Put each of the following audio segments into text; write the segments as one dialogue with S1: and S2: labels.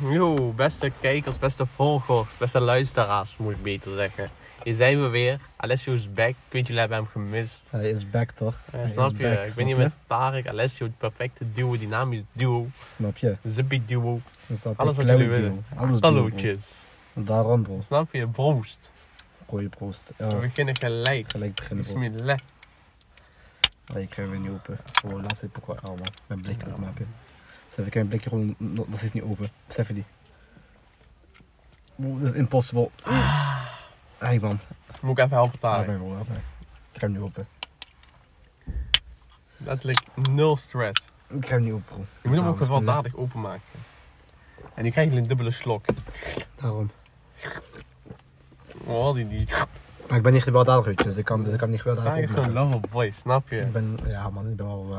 S1: Yo, beste kijkers, beste volgers, beste luisteraars, moet ik beter zeggen. Hier zijn we weer. Alessio is back. Ik weet, jullie hebben hem gemist.
S2: Hij is back toch?
S1: Eh,
S2: Hij is
S1: snap je?
S2: back,
S1: ik
S2: snap
S1: ben hier
S2: je?
S1: met Tarek, Alessio, het perfecte duo, dynamisch duo,
S2: Snap je?
S1: zippy duo.
S2: Dus dat
S1: Alles
S2: ik
S1: wat jullie
S2: clown
S1: willen.
S2: doe. Alles
S1: Hallo,
S2: doen,
S1: kids.
S2: bro. Daarom bro.
S1: Snap je? Broost.
S2: Goeie proost.
S1: We
S2: Ja,
S1: beginnen gelijk.
S2: gelijk beginnen bro.
S1: Bismillah.
S2: Nee, ik ga weer niet open. Oh, laatste heb ik wel aan man. Mijn blik open maken. Besef, ik heb mijn blikje gewoon nog nog steeds niet open. Besef je die? Bro, dat is impossible.
S1: Ah.
S2: Hey man.
S1: Moet ik even helpen,
S2: Help
S1: Tarek.
S2: mij bro, help mij. Ik ga hem niet open.
S1: Letterlijk nul stress.
S2: Ik ga hem niet open bro.
S1: Je moet hem
S2: Daarom,
S1: ook gewelddadig openmaken. En die krijgen een dubbele slok.
S2: Daarom.
S1: Oh, die, die.
S2: Maar ik ben niet gewelddadig weet je, dus ik kan, dus ik kan hem niet gewelddadig
S1: Tarek is gewoon
S2: openmaken.
S1: love of boy, snap je?
S2: Ik ben, ja man, ik ben wel,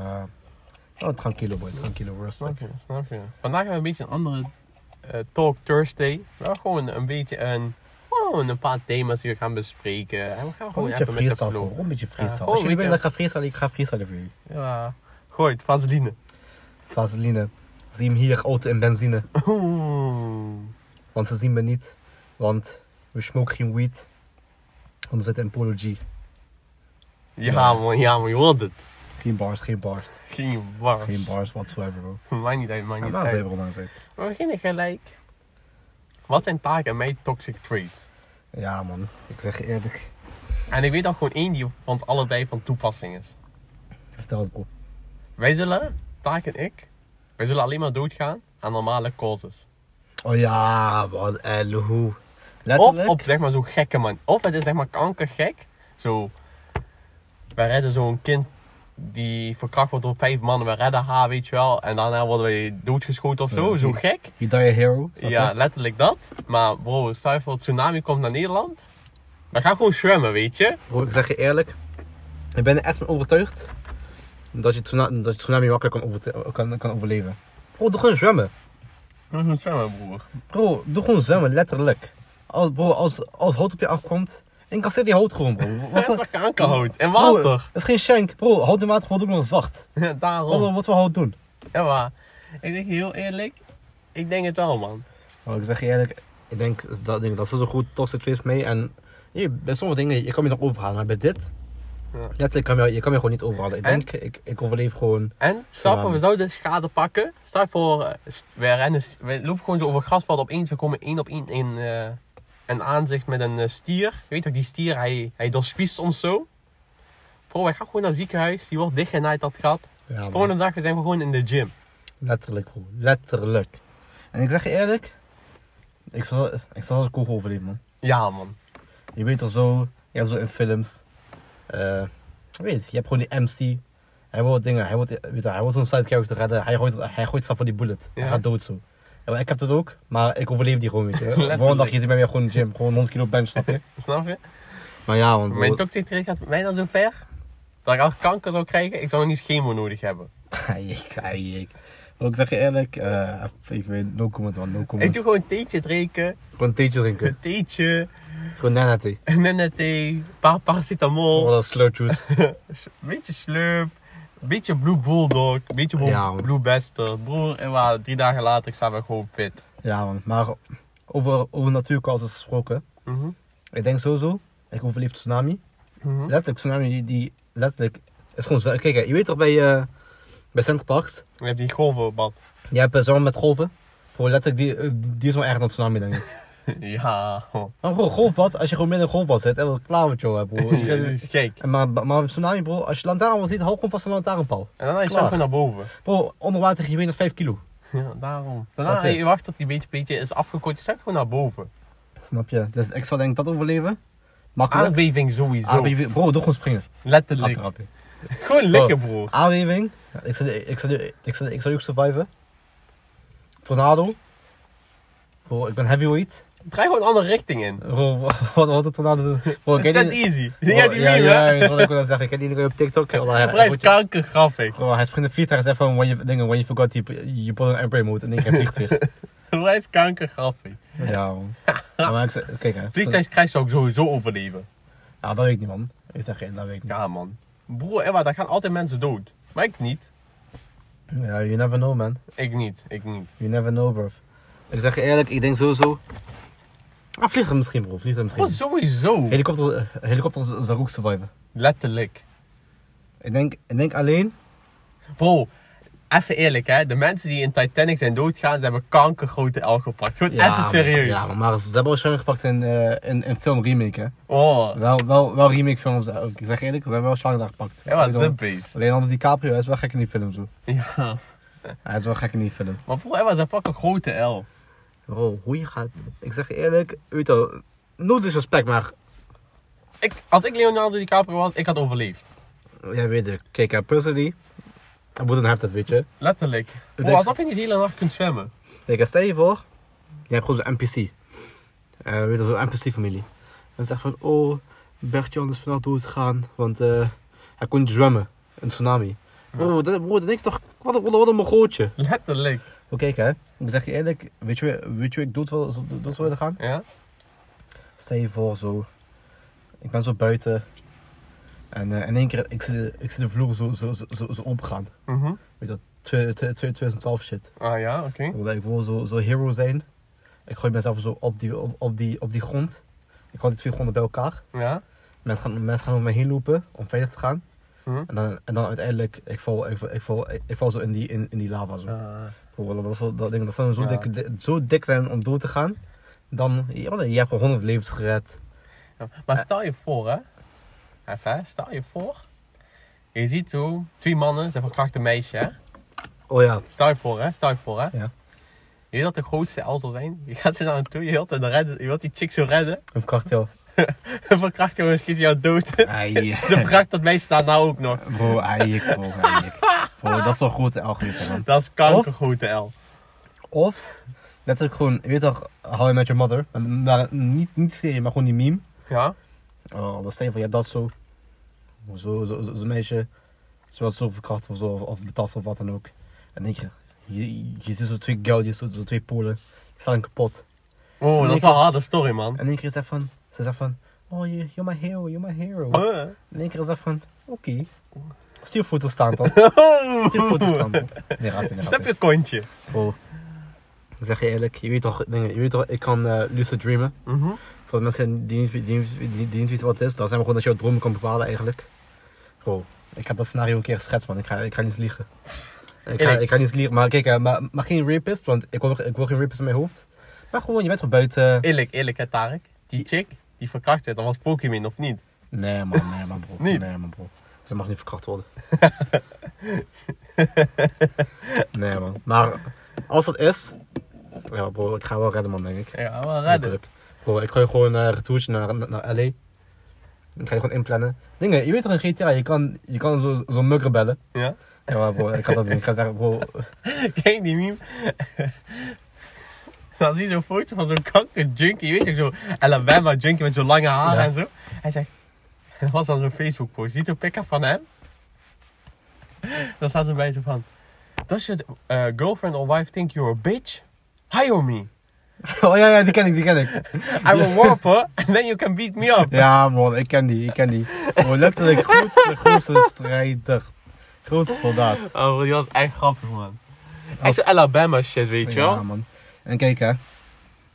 S2: eh oh, tranquilo boy, tranquilo, rustig.
S1: Snap je, snap je. Vandaag hebben we een beetje een andere eh, Talk Thursday. Wel gewoon een beetje een, gewoon een paar thema's die we gaan bespreken. En we gaan
S2: Gewoon
S1: gewoon
S2: een beetje
S1: even met de
S2: freestyle, bro.
S1: flow.
S2: Gewoon een beetje freestyle.
S1: gewoon
S2: Als jullie
S1: een
S2: willen dat ik
S1: beetje-
S2: ga freestylen, ik ga freestylen voor jullie.
S1: Ja. Gooi het, vaseline.
S2: Vaseline. Zie hem hier, auto en benzine.
S1: Oeh.
S2: Want ze zien me niet. Want we smoken geen weed. Want we zitten in Polo G.
S1: Ja,
S2: Ja.
S1: man, ja man, je hoort het.
S2: Geen bars, geen bars.
S1: Geen war.
S2: Geen bars whatsoever, bro.
S1: Maakt niet uit, maakt
S2: Ja,
S1: niet
S2: nou, ze
S1: uit.
S2: hebben gewoon aan
S1: We beginnen gelijk. Wat zijn Taak en mijn toxic traits?
S2: Ja, man. Ik zeg je eerlijk.
S1: En ik weet al gewoon één die van ons allebei van toepassing is.
S2: Vertel het, bro.
S1: Wij zullen, Taak en ik, wij zullen alleen maar doodgaan aan normale causes.
S2: Oh ja, man. En hoe?
S1: Of
S2: Letterlijk.
S1: op zeg maar zo'n gekke man. Of het is zeg maar kankergek. Zo. We redden zo'n kind die verkracht wordt door vijf mannen. We redden haar, weet je wel. En daarna worden wij doodgeschoten of zo.
S2: Ja.
S1: Zo gek.
S2: You die a hero. snap je?
S1: Ja, letterlijk dat. Maar bro, stel je voor, tsunami komt naar Nederland. We gaan gewoon zwemmen, weet je.
S2: Bro, ik zeg je eerlijk, ik ben er echt van overtuigd dat je tsunami, dat je tsunami makkelijk kan, overte- kan, kan overleven. Bro, doe gewoon zwemmen.
S1: We gaan zwemmen, broer.
S2: Bro, doe gewoon zwemmen, letterlijk. Als, bro, als, als hout op je afkomt, incasseer die hout gewoon, bro. Wat-
S1: Wat kankerhout. En
S2: bro,
S1: water. Oh.
S2: Dat is geen shank, bro. Hout in water wordt ook nog zacht.
S1: Ja,
S2: Wat,
S1: Daarom.
S2: wat we hout doen.
S1: Ja, maar. Ik denk je heel eerlijk. Ik denk het wel, man.
S2: Bro, Oh, ik zeg je eerlijk, ik denk dat, denk, dat is zo goed toxic traits mee. En je, bij sommige dingen, je kan je nog overhalen, maar bij dit,
S1: Ja.
S2: letterlijk kan je, je kan je gewoon niet overhalen. Ik
S1: En-
S2: denk, ik, ik overleef gewoon.
S1: En stel voor,
S2: Tsunami.
S1: we zouden schade pakken. Stel voor, eh, st- we, rennen, s- we lopen gewoon zo over grasveld opeens. We komen één op één in eh, een aanzicht met een eh, stier. Je weet toch, die stier, hij, hij doorspiest ons zo. Bro, wij gaan gewoon naar het ziekenhuis. Die wordt dichtgenaaid, dat gat.
S2: Ja, man.
S1: Volgende dag zijn we gewoon in de gym.
S2: Letterlijk, bro. Letterlijk. En ik zeg je eerlijk, ik zal, ik zal als een kogel overleven, man.
S1: Ja, man.
S2: Je weet al zo, je hebt zo in films. eh, ik weet, je hebt gewoon die MC. Hij wil dingen, hij wil, weet je, hij wil zo'n side character redden. Hij gooit, hij gooit zelf voor die bullet.
S1: Ja.
S2: Hij gaat dood zo. Ja, maar ik heb dat ook, maar ik overleef die gewoon, weet je.
S1: Letterlijk.
S2: Volgende dag zit ik bij mij gewoon in de gym, gewoon 100 kilo bench, snap je?
S1: Snap je?
S2: Maar ja, want
S1: Mijn toxic trait gaat bij mij dan zo ver. Dat ik al kanker zou krijgen. Ik zou nog niet eens chemo nodig hebben.
S2: Eik, eik. Ik zeg je eerlijk, eh, ik weet, no comment man, no
S1: Ik
S2: comment.
S1: doe gewoon theetje drinken.
S2: Gewoon een theetje drinken,
S1: Een theetje.
S2: gewoon nana thee.
S1: Een nennethee. Een paar paracetamol.
S2: Oh, dat is slow juice.
S1: beetje slurp, beetje Blue Bulldog, beetje Blue,
S2: Ja, man.
S1: Blue Bester. Broer, en waar, drie dagen later ik sta weer gewoon fit.
S2: Ja, man. Maar over, over natuurcasus gesproken.
S1: Mhm,
S2: Ik denk sowieso, ik overleef tsunami. Hm? Letterlijk, tsunami die, die letterlijk is gewoon zwaar. Kijk, hè, je weet toch bij, eh bij Center Parks,
S1: Je hebt die golvenbad.
S2: je hebt uh, met golven. Bro, letterlijk, die, eh, die, die is wel erg dan tsunami, denk ik.
S1: ja, man.
S2: Maar bro, golfbad, als je gewoon midden in een golfbad zit, en dan klaar met jou, hè, bro.
S1: Ja, dat is gek.
S2: En maar, maar tsunami, bro, als je lantaarn wil zitten, hou gewoon vast een lantaarnpaal.
S1: En daarna je
S2: Klaar.
S1: staat gewoon naar boven.
S2: Bro, onder water je weet nog 5 kilo.
S1: Ja, daarom.
S2: Snap
S1: Daarna
S2: je?
S1: je wacht tot die beetje, beetje is afgekort, je staat gewoon naar boven.
S2: Snap je? Dus ik zal denk ik dat overleven. Makkelijk.
S1: Aardbeving sowieso.
S2: Aardbeving. Oh. Bro, doe gewoon springen.
S1: Letterlijk.
S2: Rapje, rapje.
S1: Gewoon lekker, broer.
S2: Aardbeving. Ja, Ik zou, ik zou, ik zou, ik zou ook surviven. Tornado. Bro, ik ben heavyweight.
S1: Draai gewoon een andere richting in.
S2: Bro, wat, wat een tornado doen? Bro, ik
S1: Het is
S2: ken
S1: net
S2: die...
S1: easy.
S2: Bro,
S1: Zie jij die
S2: Oh, ja,
S1: meme,
S2: ja,
S1: hè?
S2: ja, dat is wat ik wil zeggen. Ik ken die dingen op TikTok. Wallah, hij-
S1: Prijs
S2: hij-
S1: kanker grappig.
S2: Bro, hij springt een vliegtuig en zegt van, when you, dingen, when you forgot, you, you put on airplane mode. En ik heb vliegtuig.
S1: Prijs kanker grappig.
S2: ja, man. Ja, maar ik zeg, kijk hè.
S1: Vliegtuigkrijs zou ik sowieso overleven.
S2: Ja, dat weet ik niet, man. Ik zeg, geen, dat weet ik niet.
S1: Ja, man. Broer, Ewa, daar gaan altijd mensen dood. Maar ik niet.
S2: Ja, you never know, man.
S1: Ik niet, ik niet.
S2: You never know, bro. Ik zeg je eerlijk, ik denk sowieso. Ah, vliegtuig misschien, bro. Vliegtuig misschien.
S1: Gewoon sowieso.
S2: Helikopter, eh, helikopter is- is daar ook surviven.
S1: Letterlijk.
S2: Ik denk, ik denk alleen.
S1: Bro, even eerlijk hè. De mensen die in Titanic zijn doodgaan, ze hebben kankergrote L gepakt. Gewoon even
S2: maar-
S1: serieus.
S2: Ja, maar, maar ze hebben waarschijnlijk gepakt in, eh in, in film remake, hè.
S1: Oh,
S2: Wel, wel, wel remake films eh, ook. Ik zeg je eerlijk, ze hebben wel Shanghai daar gepakt.
S1: ja, wat
S2: Alleen dan-
S1: zippies.
S2: Alleen al DiCaprio, hij is wel gek in die film, zo.
S1: Ja.
S2: Hij is wel gek in die film.
S1: Maar bro, Emma, ze pakken grote L.
S2: Bro, hoe je gaat... Ik zeg je eerlijk, weet je wel, no disrespect, maar...
S1: Ik, als ik Leonardo DiCaprio was, ik had overleefd.
S2: Jij weet het. Kijk, eh, personally, I wouldn't have that, weet je.
S1: Letterlijk. Bro,
S2: denk-
S1: alsof je niet de hele nacht kunt zwemmen.
S2: Kijk, eh, stel je voor, je hebt gewoon zo'n NPC. Eh, weet je, wel, zo'n NPC-familie. En zegt van, oh, Bert-Jan is vannacht doodgegaan, want eh, hij kon niet zwemmen. Een tsunami. Bro, dat, bro, dat denk ik toch, wat een, wat een, wat een mogootje.
S1: Letterlijk.
S2: Oké, kijk hè. Ik zeg je eerlijk, weet je, weet je hoe ik dood wil, zo- dood zou willen gaan?
S1: Ja?
S2: Stel je voor zo, ik ben zo buiten en eh, in één keer, ik zie de, ik zie de vloer zo, zo, zo, zo, zo opgaan.
S1: Mhm.
S2: Weet je dat, twe- twe- twe- 2012 shit.
S1: Ah ja, oké.
S2: Ik wil, ik wil zo, zo hero zijn. Ik gooi mezelf zo op die, op, op die, op die grond. Ik haal die twee gronden bij elkaar.
S1: Ja.
S2: Mensen gaan, mensen gaan over me heen lopen om veilig te gaan.
S1: Mhm.
S2: En, dan, en dan uiteindelijk, ik val, ik val, ik val, ik, val zo in die, in, in die lava zo.
S1: Ah.
S2: Bijvoorbeeld, dat, is Oh, wel- dat, denk ik, dat zou zo,
S1: Ja.
S2: dik, di- zo dik zijn om door te gaan. Dan, ja, je hebt gewoon 100 levens gered.
S1: Ja, Maar stel je voor, hè. Even, hè, stel je voor. Je ziet hoe twee mannen, ze verkrachten een meisje, hè.
S2: Oh ja.
S1: Stel je voor, hè. Stel je voor, hè.
S2: Ja.
S1: Je weet dat de grootste L zal zijn. Je gaat ze naar hem toe, je wilt, hen redden, je wilt die chick zo redden.
S2: Een krachttel.
S1: En verkracht je hem en schiet je jou dood.
S2: Ai.
S1: Ze verkracht dat meisje daar nou ook nog.
S2: Bro, eik, bro, eik. Bro, dat is wel goed, algemeen man.
S1: Dat is kankergrote L.
S2: Of, letterlijk gewoon, je weet toch, How I Met Your Mother. Maar, niet, niet serie, maar gewoon die meme.
S1: Ja?
S2: Oh, dat Stefan, je hebt dat zo. Zo, zo, zo- zo'n meisje. Ze wordt zo verkracht of zo, of, of betast of wat dan ook. En denk je, je, je ziet zo twee goudjes, zo, zo twee polen. Die staan kapot.
S1: Oh, dat
S2: Nee,
S1: is wel een harde story, man.
S2: En in één keer is dat van, ze zegt van, oh, you- you're my hero, you're my hero.
S1: Oh.
S2: En in één keer is dat van, oké. Stuur foto staan dan. Stuur foto
S1: Oh.
S2: staan dan. Nee, rapje, nee,
S1: Snap
S2: rapje.
S1: je kontje.
S2: Bro, ik zeg je eerlijk, je weet toch, dingen, je weet toch ik kan eh, lucid dreamen.
S1: Mhm.
S2: Voor de mensen die niet, die, niet- die, die niet weten wat het is, dan zijn we gewoon dat je jouw dromen kan bepalen eigenlijk. Bro, ik heb dat scenario een keer geschetst man, ik ga, ik ga niet liegen. Ik ga,
S1: Eerlijk.
S2: ik ga niet liegen, maar kijk, eh, maar, maar geen rapist, want ik wil, ik wil geen rapist in mijn hoofd. Maar gewoon, je bent gewoon buiten.
S1: Eerlijk, eerlijk hè Tarek. Die chick die verkracht werd, dat was Pokémon of niet?
S2: Nee man, nee man bro.
S1: Niet?
S2: Nee man bro. Ze mag niet verkracht worden. nee man. Maar als dat is... Ja bro, ik ga wel redden man denk ik.
S1: Ja, wel redden.
S2: Hopelijk. Bro, ik gooi gewoon een retourtje naar, naar, naar LA. Ik ga je gewoon inplannen. Dingen, je weet toch in GTA, je kan, je kan zo- zo'n mugger bellen.
S1: Ja.
S2: Ja maar bro, ik ga dat doen. Ik ga zeggen bro...
S1: Kijk die meme. Dan zie je zo'n foto van zo'n kanker junkie. Je weet toch zo'n Alabama junkie met zo'n lange haren
S2: Ja.
S1: en zo. Hij zegt, dat was dan zo'n Facebook post. Ziet zo'n pick-up van hem. Dan staat er bij zo van, does your eh, girlfriend or wife think you're a bitch? Hire me.
S2: Oh ja, ja, die ken ik, die ken ik.
S1: I will warp her and then you can beat me up.
S2: Ja man, ik ken die, ik ken die. Bro, letterlijk grootste, grootste strijder. Grootste soldaat.
S1: Oh, die was echt grappig man. Echt zo'n Alabama shit, weet je wel.
S2: Oh Ja, man. En kijk, hè.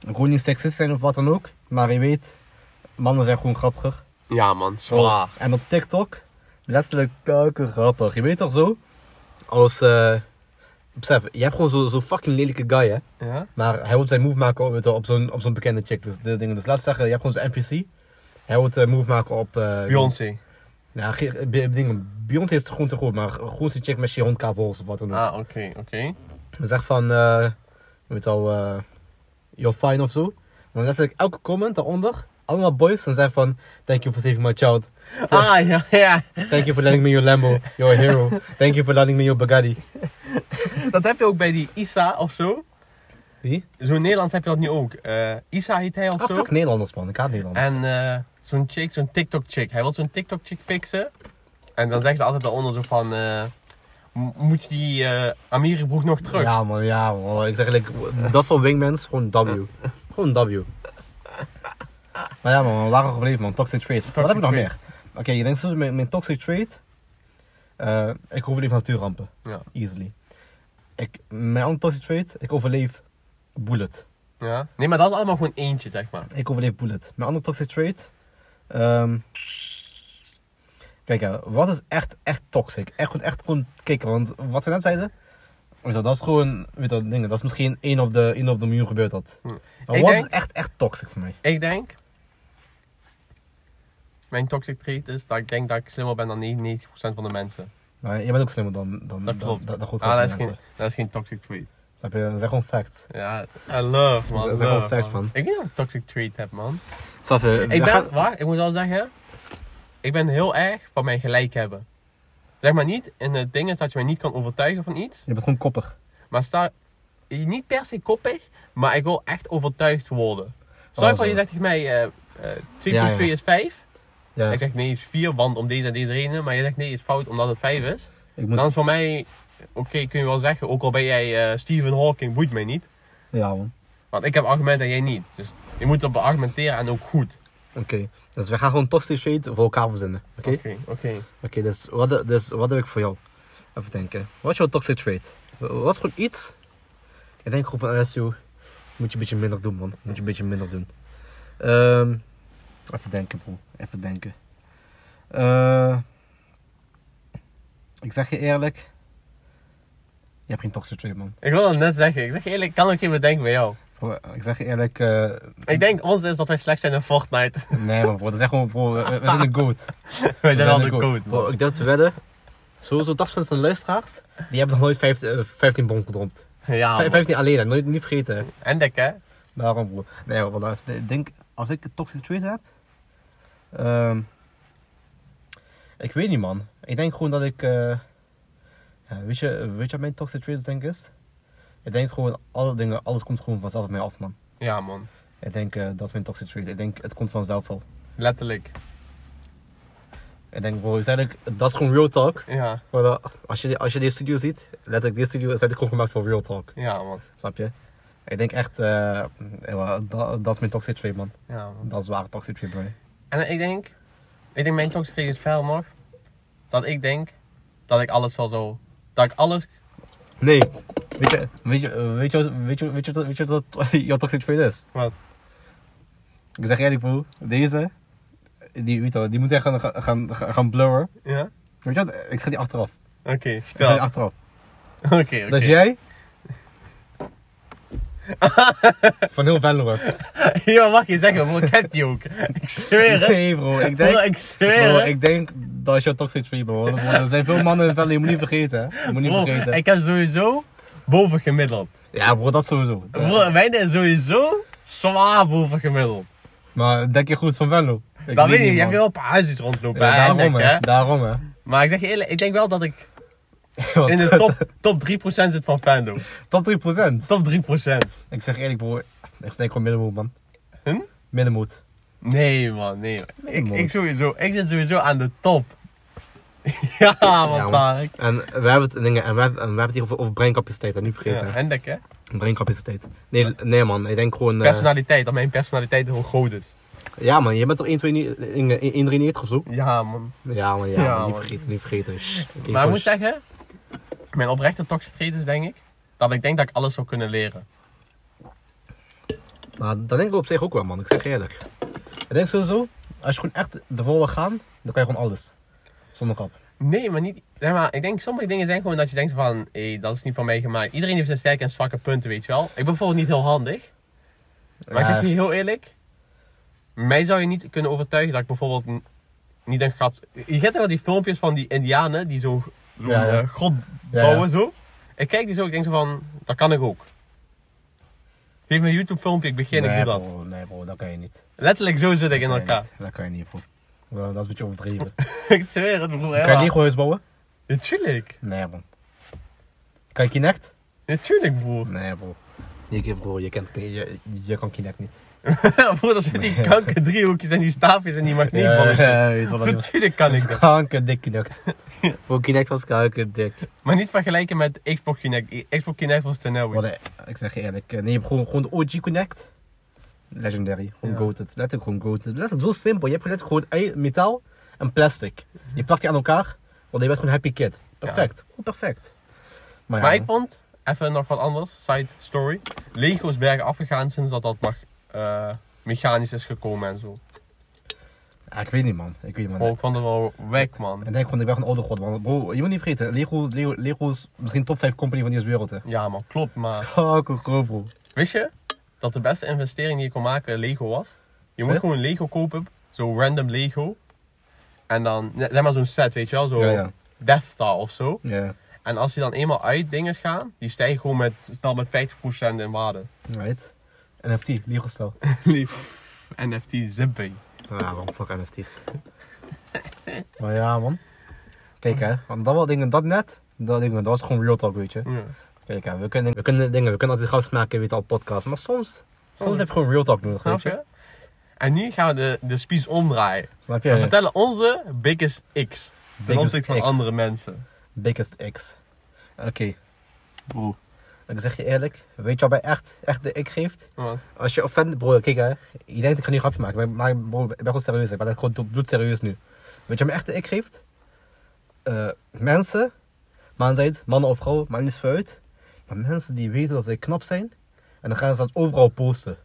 S2: Ik wil niet seksist zijn of wat dan ook. Maar je weet, mannen zijn gewoon grappiger.
S1: Ja man, Ah. zwaar.
S2: En op TikTok, letterlijk kuiken grappig. Je weet toch zo? Als, eh... Besef, je hebt gewoon zo'n zo fucking lelijke guy, hè.
S1: Ja?
S2: Maar hij wil zijn move maken op, weet je wel, op zo'n op zo'n bekende chick. Dus, de dingen. dus laat zeggen, je hebt gewoon zo'n NPC. Hij wil een move maken op... eh,
S1: Beyoncé.
S2: Ja, ge- eh, be- dingen. Beyoncé is gewoon te goed, maar gewoon zo'n chick met 100k volgers of wat dan ook.
S1: Ah, oké, oké.
S2: zeg van, eh weet al, eh you're fine of zo. Dan zet ik elke comment daaronder, allemaal boys, dan zeg van, thank you for saving my child.
S1: Ah, ja, ja.
S2: Thank you for lending me your Lambo, you're a hero. Thank you for lending me your Bugatti.
S1: Dat heb je ook bij die Isa of zo.
S2: Wie?
S1: Zo'n Nederlands heb je dat nu ook. Eh, Isa heet hij of
S2: Ah,
S1: zo.
S2: fuck Nederlanders man, ik haat Nederlanders.
S1: En eh, zo'n chick, zo'n TikTok chick. Hij wil zo'n TikTok chick fixen. En dan zeggen ze altijd daaronder zo van... eh, "M- moet je die eh Ameribroek nog terug?
S2: Ja man, ja man, ik zeg eigenlijk, dat soort wingmans, gewoon W. Gewoon W. Maar ja man, we waren gebleven man, toxic trait. Wat heb ik nog
S1: trait.
S2: meer? Oké, ik denk zo mijn, mijn toxic trait, eh, ik overleef natuurrampen.
S1: Ja.
S2: Easily. Ik, mijn andere toxic trait, ik overleef Bullet.
S1: Ja. Nee, maar dat is allemaal gewoon eentje, zeg maar.
S2: Ik overleef Bullet. Mijn andere toxic trait. ehm, kijk, hè, wat is echt, echt toxic? Echt gewoon, echt gewoon kijken, want wat we net zeiden. Weet je, wel, dat is gewoon, weet je, wel, dingen. Dat is misschien één op de, één op de miljoen gebeurd dat.
S1: Hm.
S2: Maar
S1: Ik
S2: wat
S1: denk-
S2: is echt, echt toxic voor mij?
S1: Ik denk. Mijn toxic trait is dat ik denk dat ik slimmer ben dan 99% van de mensen.
S2: Maar je bent ook slimmer dan,
S1: Dat
S2: dan, dan-
S1: klopt.
S2: dan- dan goed
S1: ah, dat, is
S2: mensen.
S1: geen, dat is geen toxic trait.
S2: Snap je? Dat zijn gewoon facts.
S1: Ja, I love man.
S2: Dat is
S1: love,
S2: gewoon facts, man.
S1: Ik weet niet of ik toxic trait heb, man.
S2: Snap je?
S1: Ik ben, waar, ik moet wel zeggen, ik ben heel erg van mijn gelijk hebben. Zeg maar niet in het ding is dat je mij niet kan overtuigen van iets,
S2: Je bent gewoon koppig.
S1: maar sta niet per se koppig, maar ik wil echt overtuigd worden. Stel je
S2: Oh,
S1: voor, je
S2: zo.
S1: zegt tegen mij, eh, eh, 2
S2: Ja,
S1: plus
S2: ja.
S1: 2 is 5.
S2: Ja,
S1: Ik zeg nee, is 4, want om deze en deze redenen. Maar je zegt nee, is fout omdat het 5 is.
S2: ik moet...
S1: Dan is voor mij, oké, kun je wel zeggen, ook al ben jij eh, Stephen Hawking, boeit mij niet.
S2: Ja, man.
S1: Want ik heb argumenten en jij niet. Dus je moet dat beargumenteren en ook goed.
S2: Oké. Dus we gaan gewoon toxic shade voor elkaar verzinnen. Oké? Oké,
S1: oké.
S2: dus, wat, dus wat heb ik voor jou? Even denken. Wat is jouw toxic trait? Wat is gewoon iets? Ik denk gewoon van RSU. Moet je een beetje minder doen, man. Moet je een beetje minder doen. Ehm, even denken, bro. Even denken. Eh, ik zeg je eerlijk. Je hebt geen toxic trait, man.
S1: Ik wil dat net zeggen. Ik zeg je eerlijk, ik kan ook geen bedenken bij jou.
S2: Bro, Ik zeg je eerlijk. eh,
S1: Ik denk ons is dat wij slecht zijn in Fortnite.
S2: Nee, maar bro, dat is echt gewoon, bro, we, we zijn een goat.
S1: wij zijn al de
S2: een
S1: code.
S2: Bro,
S1: man.
S2: ik durf te wedden, sowieso 80% van de luisteraars, die hebben nog nooit 15, eh, 15 bon gedrompt.
S1: Ja,
S2: Vijf-
S1: Ah, man.
S2: 15 alleen, hè, nooit, niet vergeten. hè.
S1: En dik, hè?
S2: Daarom, bro. Nee, bro, luister, ik denk, als ik een toxic trait heb, ehm, ik weet niet, man. Ik denk gewoon dat ik, eh, ja, weet, je, weet je wat mijn toxic trait denk ik is? Ik denk gewoon, alle dingen, alles komt gewoon vanzelf op mij af, man.
S1: Ja, man.
S2: Ik denk, eh, dat is mijn toxic trait. Ik denk, het komt vanzelf wel.
S1: Letterlijk.
S2: Ik denk, bro, ik zei dat, dat is gewoon real talk.
S1: Ja,
S2: Maar eh, als, je, als je deze studio ziet, letterlijk deze studio is letterlijk gewoon gemaakt voor real talk.
S1: ja, man.
S2: Snap je? Ik denk echt, eh, eh, dat, dat is mijn toxic trait man.
S1: Ja, man.
S2: Dat is waar toxic trait bro.
S1: En ik denk, ik denk mijn toxic trait is fel nog, dat ik denk dat ik alles wel zo, dat ik alles,
S2: Nee, weet je, weet je, eh, weet je, wat- weet je, weet je, wat- weet je wat dat jouw toxic trait is?
S1: wat?
S2: Ik zeg eerlijk bro, deze, die, weet je, wel, die moet echt gaan, gaan, gaan, gaan blurren.
S1: Ja?
S2: Weet je wat, ik ga die achteraf.
S1: Oké,
S2: Ik ga
S1: vertel.
S2: die
S1: Oké,
S2: achteraf.
S1: oké.
S2: Dat is jij? Van heel Venlo wordt.
S1: Ja, maar mag je zeggen, bro, ik heb die ook. Ik zweer het.
S2: Nee bro, ik
S1: Bro,
S2: denk...
S1: ik zweer
S2: Bro,
S1: het.
S2: ik denk dat is jouw toxic trait, bro. Want Er zijn veel mannen in het veld, je moet niet vergeten. hè. Je moet niet
S1: Bro,
S2: vergeten.
S1: ik heb sowieso bovengemiddeld.
S2: Ja, bro, dat sowieso.
S1: Bro, mijn is sowieso zwaar bovengemiddeld.
S2: Maar denk je goed van Venlo? Ik
S1: Dat weet ik, je
S2: man.
S1: hebt wel een paar huisjes rondlopen.
S2: Ja,
S1: hè,
S2: daarom,
S1: Henk,
S2: hè.
S1: hè?
S2: Daarom, hè.
S1: Maar ik zeg je eerlijk, ik denk wel dat ik
S2: Wat?
S1: in de top, top 3% zit van Fando.
S2: Top 3%.
S1: Top 3%.
S2: Ik zeg eerlijk, bro. Ik denk gewoon middenmoot, man.
S1: Hm?
S2: Middenmoot.
S1: Nee man, nee. man. Ik,
S2: man.
S1: ik, sowieso, ik zit sowieso aan de top. ja man,
S2: man.
S1: Tarek.
S2: En we hebben het, dingen, en we hebben, en we hebben het hier over, over breincapaciteit, hè. Niet
S1: Ja,
S2: vergeten.
S1: en hè?
S2: hè. Breincapaciteit. Nee, nee, man. Ik denk gewoon... eh,
S1: Personaliteit, dat mijn personaliteit heel groot is.
S2: ja, man. Je bent toch 1, 2, 1, of zo?
S1: Ja man.
S2: Ja, man. Ja,
S1: Ja,
S2: man. Niet
S1: man.
S2: vergeten, niet vergeten. Shh. Oké,
S1: maar ik
S2: gewoon
S1: moet zeggen, mijn oprechte toxic trait is denk ik, dat ik denk dat ik alles zou kunnen leren.
S2: Maar dat denk ik op zich ook wel, man. Ik zeg je eerlijk. Ik denk sowieso, als je gewoon echt ervoor wil gaan, dan kan je gewoon alles. Zonder grap.
S1: Nee, maar niet. Zeg maar, ik denk sommige dingen zijn gewoon dat je denkt van, hé, dat is niet van mij gemaakt. Iedereen heeft zijn sterke en zwakke punten, weet je wel. Ik ben bijvoorbeeld niet heel handig. Maar ik
S2: Ja.
S1: zeg je heel eerlijk, mij zou je niet kunnen overtuigen dat ik bijvoorbeeld n- niet een gat. Je kent toch wel die filmpjes van die indianen die zo'n zo
S2: Ja, ja.
S1: grot
S2: Ja,
S1: bouwen
S2: ja.
S1: zo. Ik kijk die zo, ik denk zo van, dat kan ik ook. Geef me een YouTube filmpje, ik begin,
S2: nee,
S1: ik doe dat.
S2: Bro, nee bro, dat kan je niet.
S1: Letterlijk zo zit ik in
S2: Dat kan je
S1: elkaar.
S2: niet. Dat kan je niet, bro. Bro, dat is een beetje overdreven.
S1: ik zweer het, broer.
S2: kan je niet
S1: helemaal.
S2: gewoon huis bouwen?
S1: Natuurlijk.
S2: Nee, man. Kan je Kinect?
S1: Natuurlijk, broer.
S2: Nee, bro. Je, bro, je, kent, je, je kan Kinect niet.
S1: broer, dat zijn die kanker driehoekjes en die staafjes en die magneetballetjes.
S2: ja, weet je wat dat was.
S1: Natuurlijk kan ik
S2: was
S1: dat.
S2: kankerdik Kinect. Bro, Kinect was kankerdik.
S1: Maar niet vergelijken met Xbox Kinect. Xbox Kinect was ten
S2: Wat,
S1: nauwe.
S2: eh, ik zeg je eerlijk, eh, nee, je hebt gewoon, gewoon de OG Connect. Legendary, gewoon
S1: Ja.
S2: goated. Letterlijk gewoon goated. Letterlijk zo simpel. Je hebt letterlijk gewoon ei- metaal en plastic.
S1: Mhm.
S2: Je plakt die aan elkaar, want je bent gewoon happy kid. Perfect, gewoon perfect. Maar, ja,
S1: Maar ik
S2: man.
S1: vond, Even nog wat anders, side story. Lego is bergen afgegaan sinds dat dat mag, eh, mechanisch is gekomen en zo.
S2: Ja, ik weet niet, man. Ik weet niet,
S1: Bro,
S2: man.
S1: ik vond het wel wack, man.
S2: En denk gewoon, ik ben gewoon oude god, man. Bro, je moet niet vergeten, Lego, Lego, Lego is misschien top 5 company van deze wereld, hè.
S1: Ja, man, klopt, maar...
S2: Schakel groot, bro.
S1: Wist je dat de beste investering die je kon maken Lego was? Je moet
S2: Hè?
S1: gewoon Lego kopen, zo random Lego. En dan, net zeg maar zo'n set, weet je wel, zo
S2: Ja, ja.
S1: Death Star of zo.
S2: Ja,
S1: En als die dan eenmaal uit dingen gaan, die stijgen gewoon met, snel met 50% in waarde.
S2: right. NFT, Lego stel.
S1: Lief. NFT zippy.
S2: Ja, waarom fuck NFT's? maar ja, man. Kijk, hè. Want dat wel dingen, dat net, dat, dingen, dat was gewoon real talk, weet je.
S1: Ja.
S2: Kijk, hè, we kunnen, we kunnen dingen, we kunnen altijd goud maken, weet je, al podcast. Maar soms, soms
S1: Oh.
S2: heb je gewoon real talk nodig,
S1: Snap
S2: weet je.
S1: je? En nu gaan we de, de spies omdraaien.
S2: Snap
S1: We
S2: je?
S1: vertellen onze biggest X. Ten
S2: Biggest
S1: opzichte van
S2: X.
S1: andere mensen.
S2: Biggest X. Oké,
S1: Bro.
S2: ik zeg je eerlijk, weet je wat mij echt, echt de ik geeft? Als je offend, bro, kijk hè, je denkt ik ga nu een grapje maken, maar, maar bro, ik ben gewoon serieus, ik ben echt gewoon bloed serieus nu. Weet je wat mij echt de ik geeft? Eh, mensen, man zijn, mannen of vrouwen, maakt niet zo uit, maar mensen die weten dat ze knap zijn, en dan gaan ze dat overal posten.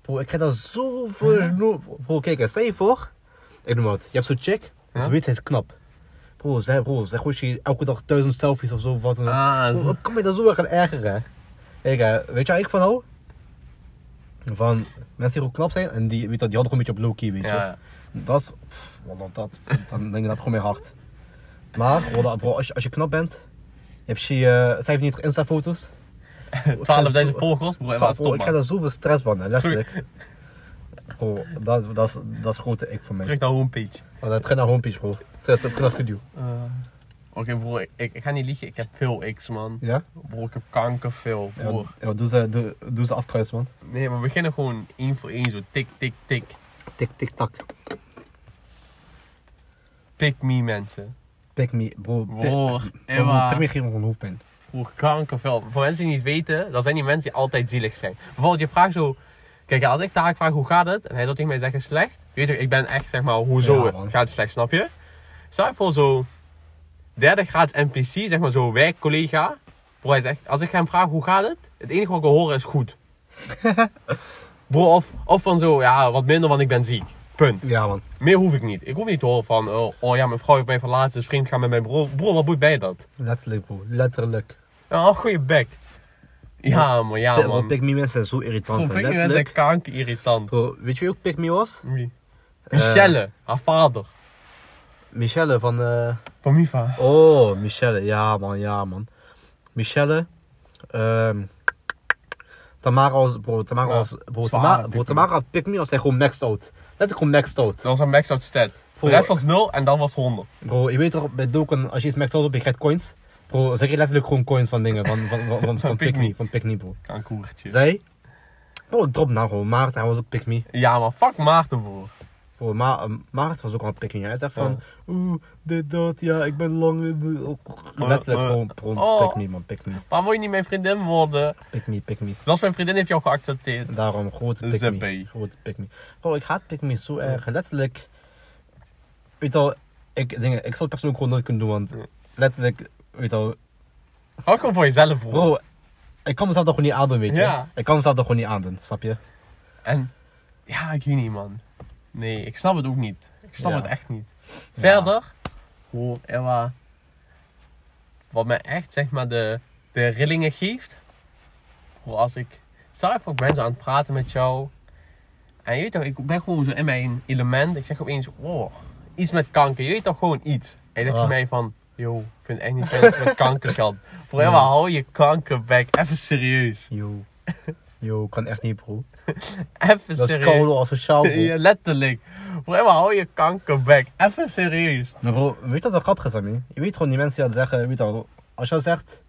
S2: Bro, ik krijg daar zoveel snoep. Bro, kijk hè, stel je voor, ik noem wat, je hebt zo'n chick,
S1: Ja?
S2: ze weet het knap. Bro, zij, bro, zij gooit je elke dag duizend selfies of zo, wat dan ook.
S1: Ah,
S2: Hoe
S1: zo.
S2: kan je dat zo erg aan ergeren? Kijk, hè, weet je waar ik van hou? Van mensen die gewoon knap zijn en die, weet dat, die hadden gewoon een beetje op low-key, weet je.
S1: Ja.
S2: Dat is, pff, wat dan dat, dan denk ik dat gewoon mijn hart. Maar, wallah, bro, als je, als je knap bent, heb je eh 95 Insta-foto's.
S1: 12.000 volgers, bro. En
S2: Zo,
S1: laat
S2: bro,
S1: stop,
S2: ik krijg
S1: man.
S2: daar zoveel stress van, hè, letterlijk. Bro, dat, dat, is, dat is grote ik voor mij.
S1: Terug naar homepage.
S2: Maar dat gaat naar homepage, bro. Terug terug naar studio.
S1: Eh, Oké, bro. Ik, ik ga niet liegen. Ik heb veel X, man.
S2: Ja?
S1: Bro, ik heb kanker veel,
S2: Ja,
S1: bro.
S2: ja, doe ze, doe, doe ze afkruis, man.
S1: Nee, maar we beginnen gewoon één voor één. Zo tik, tik, tik.
S2: Tik, tik, tak.
S1: Pick me, mensen.
S2: Pick me, bro. pick-
S1: Bro,
S2: Emma.
S1: Emma.
S2: me geen gewoon hoofdpijn.
S1: Voor kankervel. Voor mensen die niet weten, dat zijn die mensen die altijd zielig zijn. Bijvoorbeeld, je vraagt zo. Kijk, als ik Tarek vraag hoe gaat het, en hij zou tegen mij zeggen slecht. Weet je, ik ben echt zeg maar, hoezo
S2: Ja, man.
S1: gaat het slecht, snap je? Stel je voor zo. Derde graads NPC, zeg maar zo'n werkcollega. Bro, hij zegt, als ik hem vraag hoe gaat het, het enige wat ik wil horen is goed. Bro, of, of van zo, ja, wat minder, want ik ben ziek. Punt.
S2: Ja, man.
S1: Meer hoef ik niet. Ik hoef niet te horen van, oh, oh ja, mijn vrouw heeft mij verlaten, dus vriend gaat met mijn broer. Bro, wat boeit bij dat?
S2: Letterlijk, bro. Letterlijk.
S1: Ja, een goede bek. Ja, man, ja,
S2: Pick- bro,
S1: man.
S2: pick me mensen zijn zo irritant.
S1: Gewoon
S2: hè.
S1: vind ik mensen
S2: Letterlijk.
S1: kanker irritant.
S2: Bro, weet je wie ook pick me was?
S1: Wie?
S2: Eh.
S1: Michelle, haar vader.
S2: Michelle van... eh,
S1: Van Miva.
S2: Oh, Michelle. Ja, man. Ja, man. Michelle. ehm, Tamara was... Bro, Tamara
S1: Ja,
S2: was...
S1: zware
S2: Bro, Tamara,
S1: pick
S2: bro,
S1: me.
S2: Tamara had pick me als hij gewoon maxed out. Letterlijk gewoon maxed out.
S1: Dat was een max out stat. De
S2: Voor-
S1: rest was 0 en dan was 100.
S2: Bro, je weet toch, bij Doken, als je iets maxed out op, je krijgt coins. Bro, zeg je letterlijk gewoon coins van dingen. Van, van, van, van, van
S1: Pick
S2: pick
S1: me.
S2: me. Van pick me, bro.
S1: Kankoertje.
S2: Zij... Oh, ik drop nou gewoon Maarten, hij was ook pick me.
S1: Ja, maar fuck Maarten, broer.
S2: Bro, maar, maar het eh, was ook al een pikking. Hij zegt van, oeh, dit, dat, ja, ik ben lang. eh, eh, oh." Letterlijk
S1: eh,
S2: gewoon, gewoon
S1: oh.
S2: pik me man, pik me,
S1: Waarom wil je niet mijn vriendin worden?
S2: pik me, pik me.
S1: Zelfs mijn vriendin heeft jou geaccepteerd.
S2: Daarom, grote pik
S1: Zippie.
S2: me, grote pik me. Bro, ik haat pik me zo erg, letterlijk. Weet al, ik, dingen, ik zal het persoonlijk gewoon nooit kunnen doen, want letterlijk, weet al,
S1: Hou gewoon voor jezelf, broer.
S2: bro, ik kan mezelf dat gewoon niet aandoen, weet je.
S1: Ja.
S2: Ik kan mezelf dat gewoon niet aandoen, snap je?
S1: En, ja, ik weet niet, man. Nee, ik snap het ook niet. Ik snap
S2: Ja.
S1: het echt niet. Verder, hoe Ewa, wat mij echt zeg maar de, de rillingen geeft, hoe als ik zelf ook ben zo aan het praten met jou, en je weet toch, ik ben gewoon zo in mijn element, ik zeg opeens, wow, iets met kanker, je weet toch gewoon iets. En je zegt tegen
S2: Ah.
S1: mij van, yo, ik vind het echt niet fijn dat je met kanker gaat. Voor Ewa, hou je kankerbek, even serieus.
S2: Yo, yo, kan echt niet, bro.
S1: Even
S2: Dat is
S1: serieus.
S2: koude asociaal, bro.
S1: Ja, letterlijk. Bro, Emma, hou je kankerbek. Even serieus.
S2: Maar bro, weet je wat dat grappig is, Sammy? Je weet gewoon die mensen die dat zeggen, weet al, als je dat zegt,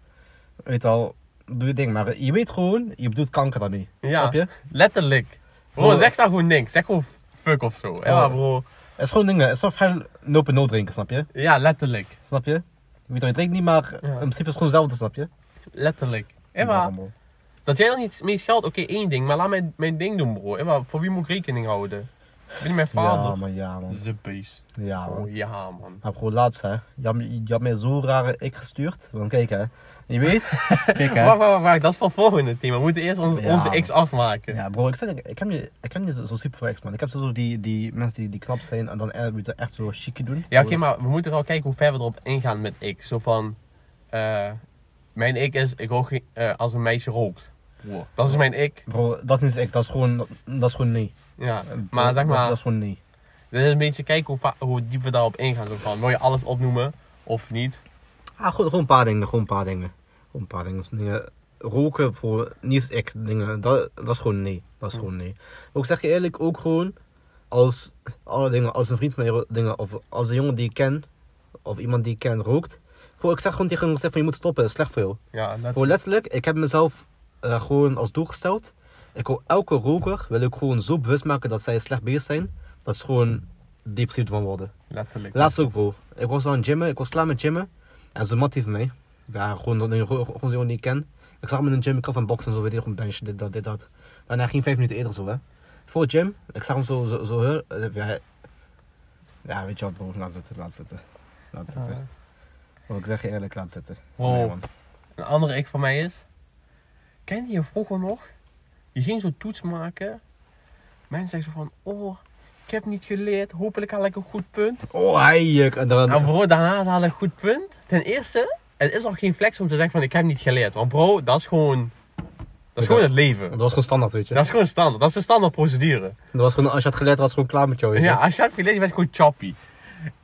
S2: weet al, doe je ding. Maar je weet gewoon, je bedoelt kanker daarmee.
S1: Ja.
S2: Snap je?
S1: Letterlijk. Bro,
S2: Bro.
S1: zeg daar gewoon niks. Zeg gewoon fuck of zo. Ja, bro.
S2: Het is gewoon dingen, het is wel vrij nope no drinken, snap je?
S1: Ja, letterlijk.
S2: Snap je? Je weet al, je drinkt niet, maar in principe is het gewoon hetzelfde, snap je?
S1: Letterlijk.
S2: Ja,
S1: Emma,
S2: bro.
S1: dat jij er niet mee scheldt, oké, één ding. Maar laat mij mijn ding doen, bro. Emma, voor wie moet ik rekening houden? Ben je mijn
S2: Ja,
S1: vader?
S2: man, ja, man.
S1: The beest.
S2: Ja, man.
S1: Oh ja, man.
S2: Maar gewoon laatst, hè. Je had, me- je had mij zo'n rare ik gestuurd. Want kijk, hè. Je weet. kijk, hè.
S1: Wacht, wacht, wacht, wacht. Dat is van volgende team. We moeten eerst ons-
S2: Ja,
S1: onze
S2: man.
S1: X afmaken.
S2: Ja, bro, ik, zeg, ik, ik heb niet, ik heb niet zo- zo'n super voor X, man. Ik heb zo die, die mensen die, die knap zijn en dan echt, moeten echt zo chique doen.
S1: Ja, oké, maar we moeten wel kijken hoe ver we erop ingaan met ik. Zo van, eh, mijn ik is, ik hoor geen- eh, als een meisje rookt. Dat is mijn ik.
S2: Bro, dat is niet ik, dat is gewoon, dat is gewoon nee.
S1: Ja.
S2: Eh,
S1: Maar
S2: dat-
S1: zeg maar,
S2: Dat is gewoon nee.
S1: dit is een beetje kijken hoe, va- hoe diep we daarop ingaan. Zo van, wil je alles opnoemen of niet?
S2: Ah, gewoon, gewoon een paar dingen, gewoon een paar dingen. Gewoon een paar dingen. Dus dingen. Roken, bro, niet is ik, dingen. Dat, dat is gewoon nee. Dat is gewoon nee. Maar ik zeg je eerlijk, ook gewoon, als, alle dingen, als een vriend van mij ro- dingen, of als een jongen die ik ken, of iemand die ik ken rookt. Bro, ik zeg gewoon tegen hem, ik zeg van, je moet stoppen, dat is slecht voor jou.
S1: Ja, dat...
S2: Gewoon letterlijk, ik heb mezelf eh, gewoon als doel gesteld. Ik wil elke roker, wil ik gewoon zo bewust maken dat zij slecht bezig zijn. Dat is gewoon depressief van worden.
S1: letterlijk.
S2: Laatst ook bro, ik was aan het gymmen, ik was klaar met gymmen. En zo'n mattie van mij, ja gewoon, dat- gewoon zo'n jongen die ik ken. Ik zag hem in een gym, ik gaf hem boksen en zo, weet je, gewoon bench, dit, dat, dit, dat. En hij ging vijf minuten eerder zo hè. Voor het gym, ik zag hem zo, zo, zo heur- eh, ja, hij- ja weet je wat bro, laat zitten, laat zitten. Laat zitten.
S1: Ja.
S2: Bro, ik zeg je eerlijk, laat zitten.
S1: Wow.
S2: Nee, man.
S1: Een andere ik van mij is. Kende je vroeger nog? Je ging zo'n toets maken. Mensen zeggen zo van: Oh, ik heb niet geleerd. Hopelijk haal ik een goed punt.
S2: Oh, hij juk. En dan,
S1: Nou, bro, daarna haal ik een goed punt. Ten eerste, het is al geen flex om te zeggen: van, Ik heb niet geleerd. Want, bro, dat is gewoon. Dat is gewoon het leven.
S2: Dat was gewoon standaard, weet je.
S1: Dat is gewoon standaard. Dat is de standaard procedure.
S2: Dat was gewoon, als je had geleerd, was het gewoon klaar met jou, weet je.
S1: Ja, als je had geleerd, je werd gewoon choppy.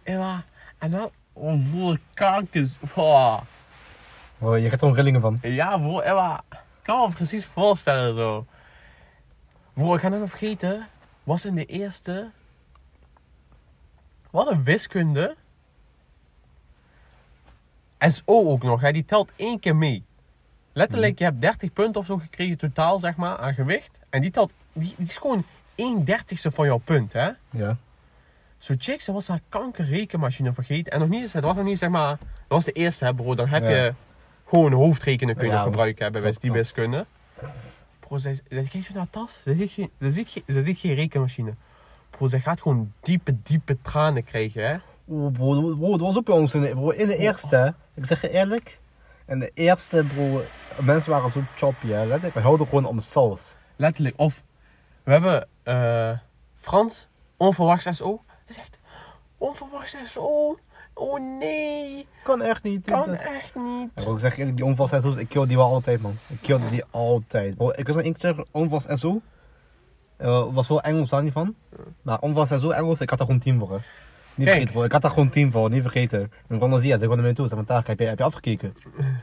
S1: Ja, en dan. Oh, bro, kankers. Oh.
S2: Oh, je krijgt er gewoon rillingen van.
S1: Ja, bro, Emma. Ik kan me precies voorstellen zo. Bro, ik ga nog vergeten. Was in de eerste. Wat een wiskunde. SO ook nog, hè? die telt één keer mee. Letterlijk, je hebt 30 punten of zo gekregen totaal, zeg maar, aan gewicht. En die telt, die, die is gewoon 1 dertigste van jouw punt, hè.
S2: Ja.
S1: Zo'n chick, ze was haar kankerrekenmachine vergeten. En nog niet eens, het was nog niet, zeg maar, dat was de eerste, hè, bro. Dan heb
S2: Ja.
S1: je gewoon hoofdrekenen kun je
S2: Ja,
S1: nog gebruiken, hè, bij wijze
S2: klopt,
S1: die
S2: klopt.
S1: wiskunde. Bro, zij, zij kijkt zo naar haar tas, ze ziet, geen, ze, ziet geen, ze ziet geen rekenmachine. Bro, zij gaat gewoon diepe, diepe tranen krijgen, hè.
S2: Oeh, bro, bro, dat was ook bij ons in de, bro, in de eerste. hè. Ik zeg je eerlijk. In de eerste, bro, mensen waren zo choppy, hè. Letterlijk, we houden gewoon om sals.
S1: Letterlijk. Of, we hebben eh, Frans, onverwachts SO. Hij zegt, onverwachts SO? Oh nee,
S2: Kan echt niet. dit,
S1: kan
S2: dat.
S1: echt niet.
S2: Ja, bro, ik zeg je eerlijk, die onvast SO's, ik kill die wel altijd, man. Ik kill die altijd. Bro, ik was een keer onvast SO. Eh was wel Engels daar niet van. Maar onvast SO, Engels, ik had daar gewoon 10 voor, hè.
S1: Kijk.
S2: Niet vergeten, bro. Ik had daar gewoon 10 voor, niet vergeten. Mijn vriend Zia, ze kwam naar mij toe, ze zei, "Taak, heb je, heb je afgekeken?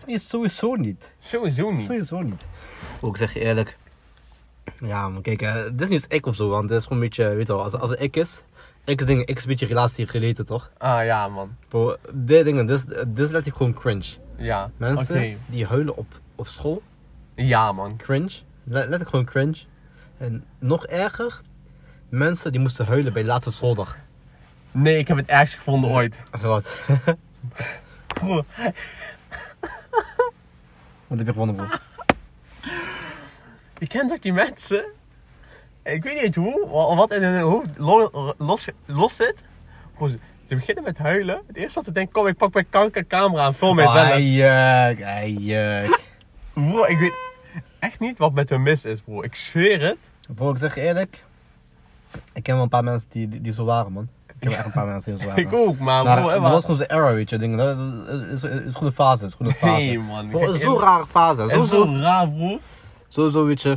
S2: Nee, sowieso niet.
S1: Sowieso niet.
S2: Sowieso niet. Hm. Ook zeg je eerlijk. Ja, maar kijk, eh, dit is niet ik of zo, want dit is gewoon een beetje, weet je wel, als, als het ik is, ik is dingen, ik is een beetje relatie geleten toch?
S1: Ah ja, man.
S2: Bro, dit dingen, dit is, dit is letterlijk gewoon cringe.
S1: Ja, oké.
S2: Mensen die huilen op, op school,
S1: Ja, man.
S2: cringe. Le- Letterlijk gewoon cringe. En nog erger, mensen die moesten huilen bij de laatste schooldag.
S1: Nee, ik heb het ergst gevonden ooit.
S2: Wat?
S1: Broer,
S2: Wat heb je gewonnen, bro?
S1: je kent toch die mensen? Ik weet niet hoe, wa- wat in hun hoofd lo- los, los zit. Broer, ze- ze beginnen met huilen. Het eerste wat ze denken, kom ik pak mijn kankercamera en film mezelf.
S2: Eijek, eijek.
S1: Broer, ik weet echt niet wat met hun mis is, broer. Ik zweer het.
S2: Bro, ik zeg je eerlijk, ik ken wel een paar mensen die, die, die zo waren, man. Ik ken wel echt een paar mensen die zo waren.
S1: Ik ook, maar
S2: Maar Nou,
S1: broer, hè,
S2: dat was
S1: maar...
S2: gewoon zijn era, weet je. Ding. Dat is- is, is, is goede fase, is goede fase.
S1: Nee, man. ik
S2: Bro,
S1: zeg
S2: het is
S1: eerlijk,
S2: zo'n rare fase.
S1: Het
S2: Zo,
S1: is zo
S2: zo,
S1: raar, broer.
S2: zo, zo, weet je.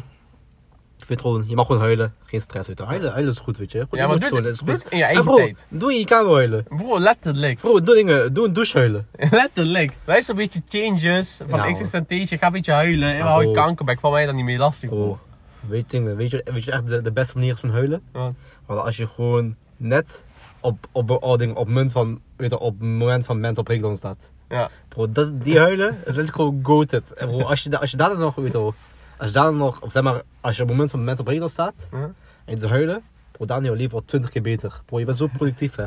S2: Ik vind gewoon, je mag gewoon huilen. Geen stress, weet je. Huilen, huilen is goed, weet je. Gewoon
S1: Ja, maar
S2: emotie
S1: doe
S2: tonen,
S1: het-
S2: is
S1: doe
S2: goed.
S1: het in je
S2: En
S1: eigen
S2: bro,
S1: tijd.
S2: doe in je kamer huilen.
S1: Broer, letterlijk.
S2: Bro, doe dingen, doe een douche huilen.
S1: Letterlijk. Luister een beetje changes van
S2: Ja,
S1: ja,
S2: man.
S1: Temptation. Ga een beetje huilen. En hou je
S2: bro.
S1: kankerback. Van mij dan niet meer lastig.
S2: Bro,
S1: broer.
S2: Oh, weet je, dingen, weet je, weet je echt de, de beste manier is van huilen?
S1: Wat?
S2: Want als je gewoon net op, op, op, op, op, munt van, weet je, op het moment van mental breakdown staat.
S1: Ja.
S2: Bro, dat, die huilen is letterlijk gewoon goated. En bro, als je, da- als je daar dan nog, weet je wel, als je daar dan nog, of zeg maar, als je op het moment van mental breakdown staat
S1: Huh?
S2: en je te huilen, bro, dan is jouw leven al twintig keer beter. Bro, je bent zo productief, hè.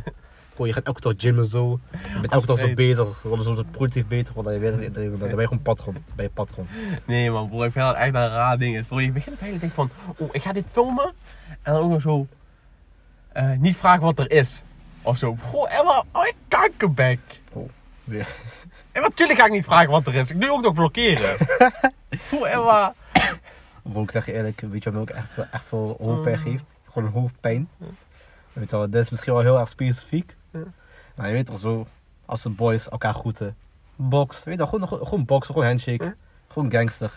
S2: Bro, je gaat elke dag gymmen zo, je bent elke dag zo
S1: Hey.
S2: beter, je wordt zo productief beter, want dan ben je, dan ben je gewoon patron, ben je patron.
S1: Nee man, broer. Ik vind dat echt een raar ding. Broer, je begint het hele ding van... Oh, ik ga dit filmen. En dan ook nog zo... eh, niet vragen wat er is. Of zo. Goh, Emma, oh, ik kankerbek.
S2: Oh, weer.
S1: En natuurlijk ga ik niet vragen wat er is. Ik doe ook nog blokkeren. Goh, Emma.
S2: Bro, ik zeg je eerlijk, weet je wat me ook echt veel, echt veel hoofdpijn
S1: Mm.
S2: geeft? Gewoon een hoofdpijn. Weet je wel, dit is misschien wel heel erg specifiek.
S1: Ja.
S2: Maar je weet toch zo, als de boys elkaar groeten. Box, weet je wel, gewoon, gewoon, gewoon boxen, gewoon handshake.
S1: Ja.
S2: Gewoon gangster.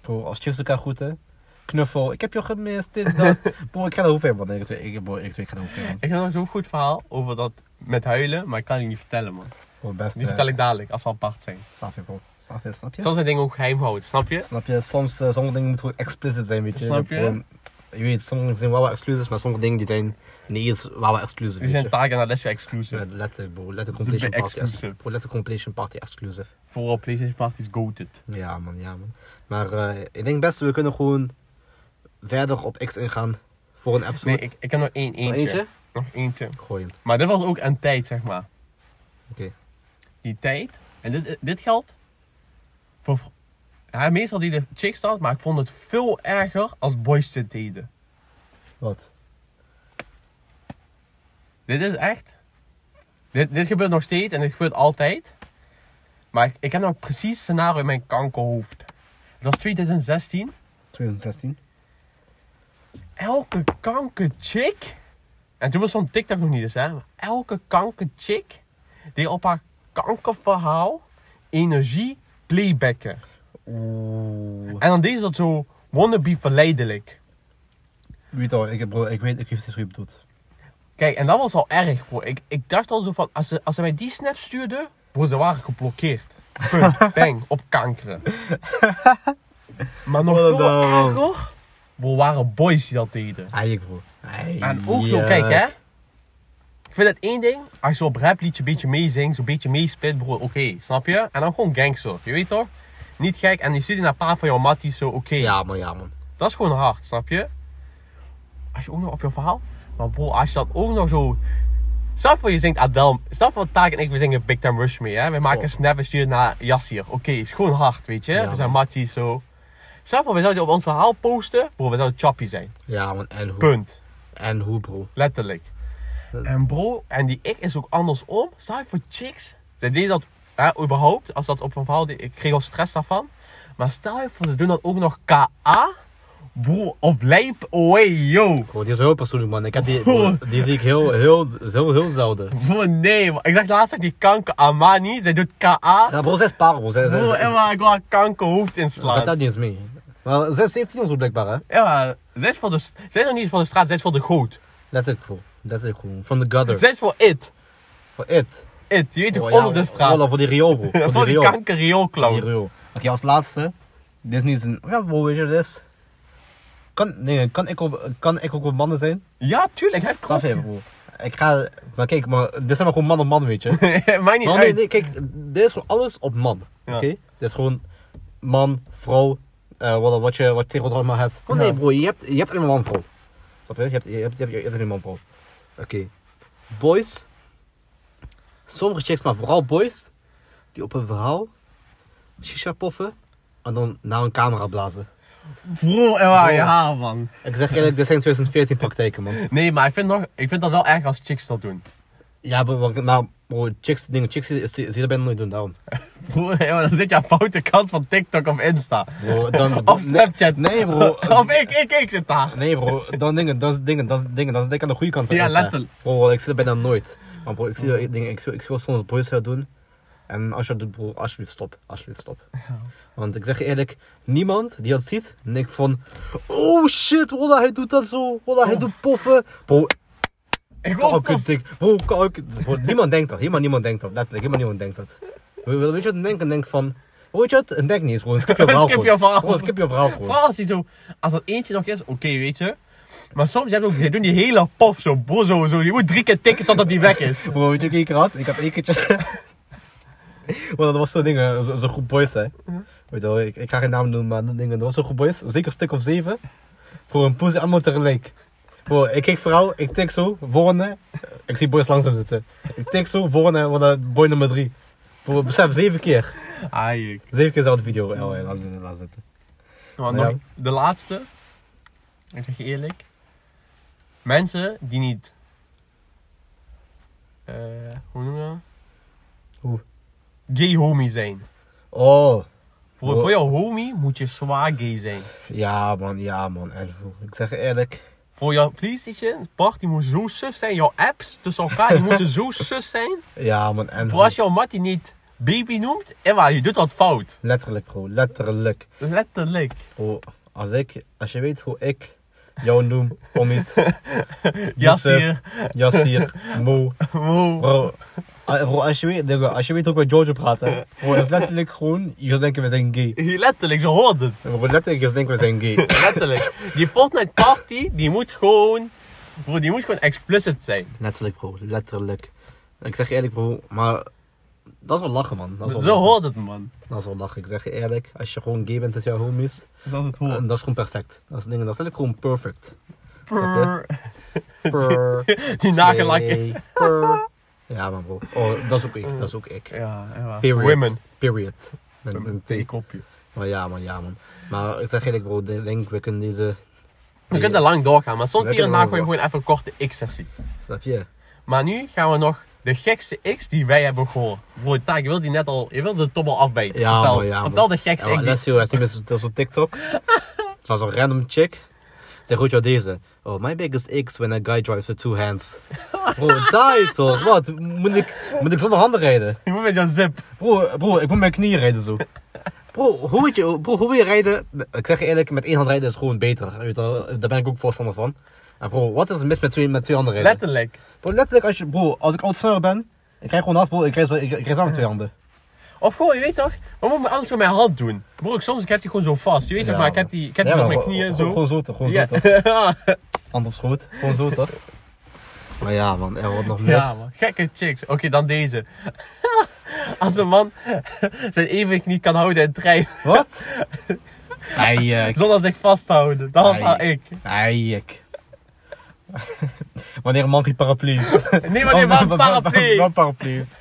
S2: Bro, als chicks elkaar groeten. Knuffel, ik heb je gemist, dit, dat. bro, ik ga er hoofdpijn van. Nee, Ik, ik, bro, ik, ik ga er hoofdpijn van.
S1: Ik heb nog zo'n goed verhaal over dat met huilen, maar ik kan het niet vertellen, man.
S2: Bro, best,
S1: Die vertel ik dadelijk, als we apart zijn.
S2: Snap je, bro. Snap je, snap je?
S1: Soms zijn dingen ook geheim gehouden, snap je?
S2: Snap je? Soms, eh, sommige dingen moeten gewoon explicit zijn, weet je.
S1: Snap je?
S2: Gewoon, je weet, sommige dingen zijn wel wel exclusives, maar sommige dingen die zijn niet eens wel wel exclusive,
S1: Die
S2: weet
S1: zijn
S2: je.
S1: taken naar Leslie exclusive.
S2: Let, let, bro, let de
S1: Ze zijn
S2: completion party
S1: exclusive.
S2: exclusive. Let de completion party exclusive.
S1: Vooral PlayStation parties goated.
S2: Ja man, ja man. Maar eh, ik denk best, we kunnen gewoon verder op X ingaan voor een episode.
S1: Nee, ik, ik heb nog één
S2: Nog
S1: eentje. Nog eentje.
S2: Gooi hem.
S1: Maar dit was ook aan tijd, zeg maar.
S2: Oké.
S1: Die tijd. En dit, dit geldt voor... Ja, meestal die de chicks dat, maar ik vond het veel erger als boys dit deden.
S2: Wat?
S1: Dit is echt... Dit, dit gebeurt nog steeds en dit gebeurt altijd. Maar ik, ik heb nog precies scenario in mijn kankerhoofd. Het was 2016.
S2: 2016?
S1: elke kanker chick. En toen was zo'n TikTok nog niet eens, hè? Maar elke kanker chick die op haar kankerverhaal energie playbacken.
S2: Oeh.
S1: En dan deed ze dat zo wannabe verleidelijk.
S2: Weet al, ik, bro, ik weet, ik weet precies hoe je bedoelt.
S1: Kijk, en dat was al erg, bro. Ik, ik dacht al zo van, als ze, als ze mij die snap stuurden, bro, ze waren geblokkeerd. Punt, bang, op kankeren. Maar nog
S2: Wat
S1: veel
S2: een down.
S1: erger, bro, waren boys die dat deden.
S2: Eik bro. Eik.
S1: En ook zo, kijk hè. Ik vind het één ding, als je op rapliedje een beetje meezingt, zo'n beetje meespit, bro, oké, snap je? En dan gewoon gangster, je weet toch? Niet gek, en je stuurt naar een paar van jouw matties, zo, oké.
S2: Ja man, ja man.
S1: Dat is gewoon hard, snap je? Als je ook nog op je verhaal, maar bro, als je dat ook nog zo... Snap voor je zingt Adele, snap voor Taak en ik, we zingen Big Time Rush mee, hè? We maken
S2: Oh.
S1: een snap en sturen naar Yassir, oké, is gewoon hard, weet je?
S2: Ja,
S1: we zijn
S2: man.
S1: matties, zo. Snap voor, we zouden op ons verhaal posten, bro, we zouden choppy zijn,
S2: Ja man, en hoe?
S1: punt.
S2: En hoe bro?
S1: Letterlijk. En bro, en die ik is ook andersom. Stel je voor chicks. Ze deden dat hè, überhaupt, als dat op een verhaal, ik kreeg al stress daarvan. Maar stel je voor, ze doen dat ook nog KA. Bro, of lijp away, yo.
S2: Bro, die is wel heel persoonlijk, man. Ik heb die, bro, die zie ik heel, heel, heel, heel zelden.
S1: Bro, nee, man. ik zag laatst dat die kanker Amani, zij doet KA.
S2: Ja, bro, zes paren, bro. Zes,
S1: Bro,
S2: zes, zes,
S1: Emma, ik wil haar kanker hoofd
S2: zet
S1: inslaan.
S2: dat niet eens mee. Maar zes heeft hij ons ook blijkbaar, hè?
S1: Emma, zij is, voor de, zij is nog niet voor de straat, zij is voor de goot.
S2: Letterlijk, bro. Letterlijk, bro. From the gutter.
S1: Zij is voor it.
S2: Voor it.
S1: It, je weet toch,
S2: Oh,
S1: onder
S2: ja,
S1: de straat.
S2: Wallah, voor die riool, bro.
S1: Dat is voor die
S2: riool.
S1: kanker rioolclown.
S2: Die riool. Oké, als laatste. Dit is niet een... Ja, bro, weet je, dit is... Kan, nee, kan, ik op, kan ik ook op mannen zijn?
S1: Ja, tuurlijk, hij
S2: Snap je, bro? Ik ga... Maar kijk, maar, dit zijn maar gewoon man op man, weet je.
S1: Mij niet
S2: Maar nee,
S1: uit.
S2: nee, kijk, dit is gewoon alles op man.
S1: Ja.
S2: Oké? Dit is gewoon man, vrouw, eh, wat, wat je wat tegen allemaal hebt. Oh nee,
S1: Ja.
S2: bro, je hebt, je hebt alleen maar man, vrouw. Snap je? Je hebt, je hebt, je hebt, je hebt alleen maar man, vrouw. Oké. Boys. Sommige chicks, maar vooral boys, die op een verhaal shisha poffen en dan naar een camera blazen.
S1: Bro, en waar
S2: Bro.
S1: ja, man.
S2: Ik zeg eerlijk, dit zijn 2014 praktijken, man.
S1: Nee, maar ik vind, nog, ik vind dat wel erg als chicks dat doen.
S2: Ja, bro, maar bro, chicks, dingen, chicks, zie zie- zie je bijna nooit doen, daarom.
S1: Bro, ja, maar dan zit je aan foute kant van TikTok of Insta.
S2: Bro, dan,
S1: Of Snapchat.
S2: Nee, bro.
S1: Of ik, ik, ik zit daar.
S2: Nee bro, dan dingen, dat is dingen, dat is dingen, dat is denk ik aan de goede kant van
S1: Ja,
S2: Insta.
S1: letterlijk. Oh.
S2: Bro, ik zie dat bijna nooit. Maar bro, ik zie dat- ik dingen, ik zie, ik zie wel soms boys gaan doen. En als je dat doet bro, alsjeblieft stop, alsjeblieft stop. Want ik zeg je eerlijk, niemand die dat ziet, denkt van, oh shit, wallah, hij doet dat zo, wallah,
S1: Oh.
S2: hij doet poffen. Bro,
S1: Ik wil ook
S2: kalkut dik, bro, kalkut. Bro, niemand denkt dat, helemaal niemand denkt dat, letterlijk, helemaal niemand denkt dat. We- we- Weet je wat, denk en denk van, weet je wat, denk niet eens bro, skip je verhaal
S1: Skip je
S2: gewoon.
S1: verhaal.
S2: Bro, skip je verhaal gewoon.
S1: Vooral als die zo, als dat eentje nog is, oké, weet je. Maar soms heb je ook, die doen die hele pop zo, bro, zo, zo. Je moet drie keer tikken totdat die weg is.
S2: Bro, weet je wat ik één keer had? Ik had één keertje... Want dat was zo'n ding, eh, zo- zo'n groep boys, hè. Weet je wel, ik, ik ga geen naam noemen, maar dat ding, dat was zo'n groep boys. Zeker een stuk of zeven. Voor een poes allemaal tegelijk. Bro, ik kijk vooral, ik tik zo, volgende. Ik zie boys langzaam zitten. Ik tik zo, volgende, want dat boy nummer drie. Bro, besef, zeven keer.
S1: Aai,
S2: Zeven keer zou de video. Oh, ja, laat zitten, laat zitten.
S1: Maar
S2: Ja.
S1: nog de laatste. Ik zeg je eerlijk. mensen die niet. eh, hoe noem je dat?
S2: Hoe?
S1: Gay homie zijn.
S2: Oh,
S1: Voor,
S2: Wow.
S1: voor jouw homie moet je zwaar gay zijn.
S2: ja man, ja man. En ik zeg je eerlijk,
S1: Voor jouw PlayStation, Bart, die moet zo sus zijn. Jouw apps tussen elkaar, die moeten zo sus zijn.
S2: ja man, en
S1: Voor als jouw mattie niet baby noemt, Emma, je doet wat fout.
S2: letterlijk bro, letterlijk.
S1: Letterlijk.
S2: Bro, als, ik, als je weet hoe ik jou noem, Omid,
S1: Jassier.
S2: Yassir, Mo,
S1: Wow.
S2: Bro, a- bro, als je weet, Digga, als je weet hoe ik met George praat, hè, bro, dat is letterlijk gewoon, jullie denken we zijn gay.
S1: Letterlijk, ze hoort het.
S2: Bro, letterlijk, jullie denken we zijn gay.
S1: Letterlijk. Die Fortnite party, die moet gewoon... Bro, die moet gewoon explicit zijn.
S2: Letterlijk, bro, letterlijk. Ik zeg je eerlijk, bro, maar dat is wel lachen, man. Dat is wel
S1: Zo
S2: lachen.
S1: hoort het, man.
S2: Dat is wel lachen, ik zeg je eerlijk. Als je gewoon gay bent, dat is jouw homies.
S1: Dat is het
S2: eh, dat is gewoon perfect. Dat is dingen, dat is eigenlijk gewoon perfect.
S1: Prrr.
S2: Purr,
S1: Die nagellakken.
S2: slay, purr. Ja, man, bro. Oh, dat is ook ik, dat is ook ik.
S1: Ja, ja.
S2: Period.
S1: Women.
S2: Period. Met een T.
S1: Een kopje.
S2: Maar ja, man, ja, man. Maar ik zeg eerlijk, bro, ik denk we kunnen deze
S1: We kunnen er lang doorgaan, maar soms hier
S2: Lekker
S1: en daar
S2: lang
S1: gooi je gewoon even een korte X-sessie.
S2: Snap je?
S1: Maar nu gaan we nog de gekste X die wij hebben gehoord. Bro, Taak, je wilde die net al, je wilde de top al afbijten.
S2: Ja,
S1: vertel,
S2: man, ja, man.
S1: vertel de gekste X
S2: Ja, maar
S1: die...
S2: let's see, let's see, met zo'n- zo'n TikTok. Het was een random chick. Zeg goed, jou deze. Oh, my biggest X when a guy drives with two hands. Bro, die toch? Wat? Moet ik, moet ik zonder handen rijden?
S1: Je moet met jouw zip.
S2: Bro, bro, ik moet mijn knieën rijden zo. Bro, hoe, weet je, bro, hoe wil je rijden? Ik zeg je eerlijk, met één hand rijden is gewoon beter. Weet je wel, daar ben ik ook voorstander van. En bro, wat is er mis met twee, met twee handen rijden?
S1: Letterlijk.
S2: bro, letterlijk, als je, bro, als ik oud sneller ben, ik krijg gewoon af, bro, ik rijd zo- ik- ik rijd zo met twee handen.
S1: Of gewoon, je weet toch, wat moet ik anders met mijn hand doen? Bro, ik, soms ik heb die gewoon zo vast. Je weet toch,
S2: Ja,
S1: maar ik
S2: man.
S1: heb die, ik heb
S2: Ja,
S1: die op
S2: maar
S1: mijn
S2: gewoon-
S1: knieën
S2: gewoon-
S1: zo.
S2: Gewoon zo toch, gewoon
S1: Ja. Ah,
S2: zo toch. Hand op schoot, gewoon zo toch. maar ja man, er wordt nog meer.
S1: Ja man, gekke chicks. Oké, dan deze. Als een man zijn evenwicht niet kan houden in de trein
S2: Wat? Eijek,
S1: zonder zich vast te houden, dan was
S2: Ai.
S1: dat ik.
S2: eijek. Wanneer een man die paraplu heeft.
S1: Nee, maar nee, maar een
S2: Dan- dan- dan-
S1: paraplu.
S2: Dan paraplu heeft.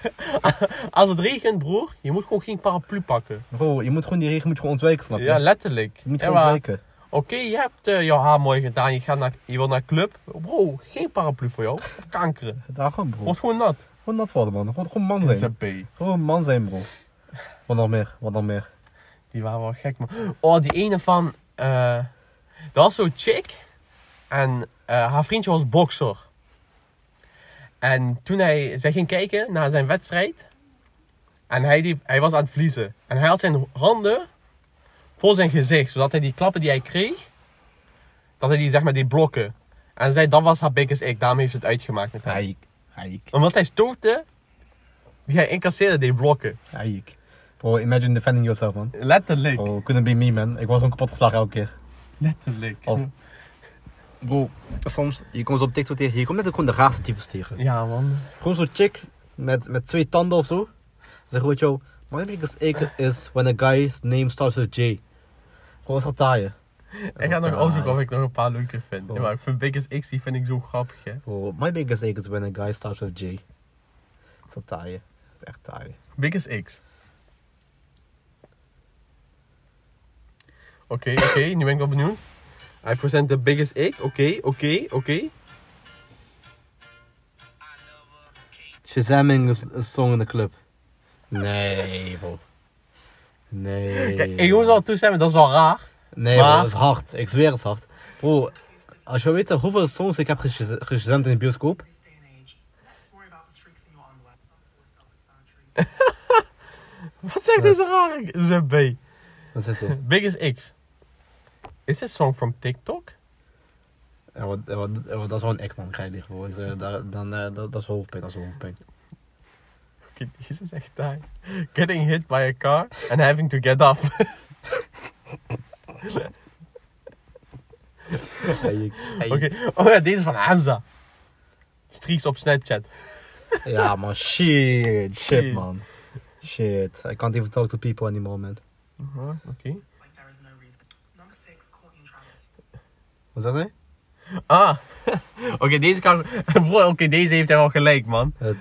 S1: Als het regent, broer, je moet gewoon geen paraplu pakken.
S2: Bro, je moet gewoon die regen moet je gewoon ontwijken, snap je?
S1: Ja, letterlijk.
S2: je moet
S1: Ja,
S2: gewoon
S1: maar-
S2: ontwijken.
S1: Oké, je hebt eh, jouw haar mooi gedaan, je, gaat naar, je wil naar club. Bro, geen paraplu voor jou. Kankeren.
S2: Daarom bro.
S1: Wordt gewoon nat.
S2: Gewoon nat worden man, gewoon, gewoon man
S1: Dat is
S2: zijn.
S1: een B.
S2: Gewoon man zijn bro. Wat nog meer, wat nog meer.
S1: Die waren wel gek, man. Oh, die ene van. eh, dat was zo'n chick. En eh, haar vriendje was bokser. En toen hij, zij ging kijken naar zijn wedstrijd. En hij, die, hij was aan het verliezen. En hij had zijn handen voor zijn gezicht. Zodat hij die klappen die hij kreeg, dat hij die zeg maar die blokken. En zij, dat was haar biggest ik. Daarom heeft ze het uitgemaakt met hem.
S2: Eijek, eijek,
S1: Omdat hij stootte, die hij incasseerde, die blokken.
S2: eijek. Bro, imagine defending yourself man.
S1: Letterlijk.
S2: Bro, couldn't be me man. Ik word gewoon kapot geslagen elke keer.
S1: Letterlijk.
S2: Of, bro, soms, je komt op TikTok tegen, je komt net ook gewoon de raarste types tegen.
S1: Ja, man.
S2: Gewoon zo'n chick met, met twee tanden of zo. Zeg goed, joh, my biggest ache is when a guy's name starts with J. Gewoon dat taaien.
S1: Ik ga nog opzoeken of ik nog een paar leuke vind.
S2: Oh.
S1: Ja, maar ik vind Biggest X die vind ik zo grappig, hè.
S2: Bro, my biggest ache is when a guy starts with J. Dat taaien. Dat is echt taaien.
S1: Biggest X. Oké, oké, nu ben ik wel benieuwd. I present the biggest X. Oké, oké, oké.
S2: Shazamming is een song in de club. Nee, bro. Nee.
S1: Kijk, ik moet wel toestemmen, dat is wel raar.
S2: Nee,
S1: Maar-
S2: bro, dat is hard. Ik zweer het is hard. Bro, als je wil weten hoeveel songs ik heb geshaz- gezamd in de bioscoop.
S3: this day and age, let's worry about the streaks in your underwear before self-explanatory.
S1: Wat zegt deze rare ZB?
S2: Wat zit er?
S1: Biggest X. Is dit song from TikTok?
S2: Ja, wat, ja, wat, ja, wat- dat is wel een ek, man. Krijg je die gewoon. Ik zeg, daar- dan, eh, dat, dat is hoofdpijn, dat is hoofdpijn.
S1: Oké, deze is echt taai. Getting hit by a car and having to get up.
S2: Oké.
S1: Oké, oh ja, deze is van Hamza. Streaks op Snapchat.
S2: Ja, man. Shit.
S1: Shit.
S2: Shit, man. Shit. I can't even talk to people anymore, man.
S1: Mhm, Oké.
S3: like there is no reason. Number six, Courtney and Travis.
S2: Wat dat hij?
S1: Ah, oké, deze kan. Bro, Oké, deze heeft hij wel gelijk, man.
S2: Het-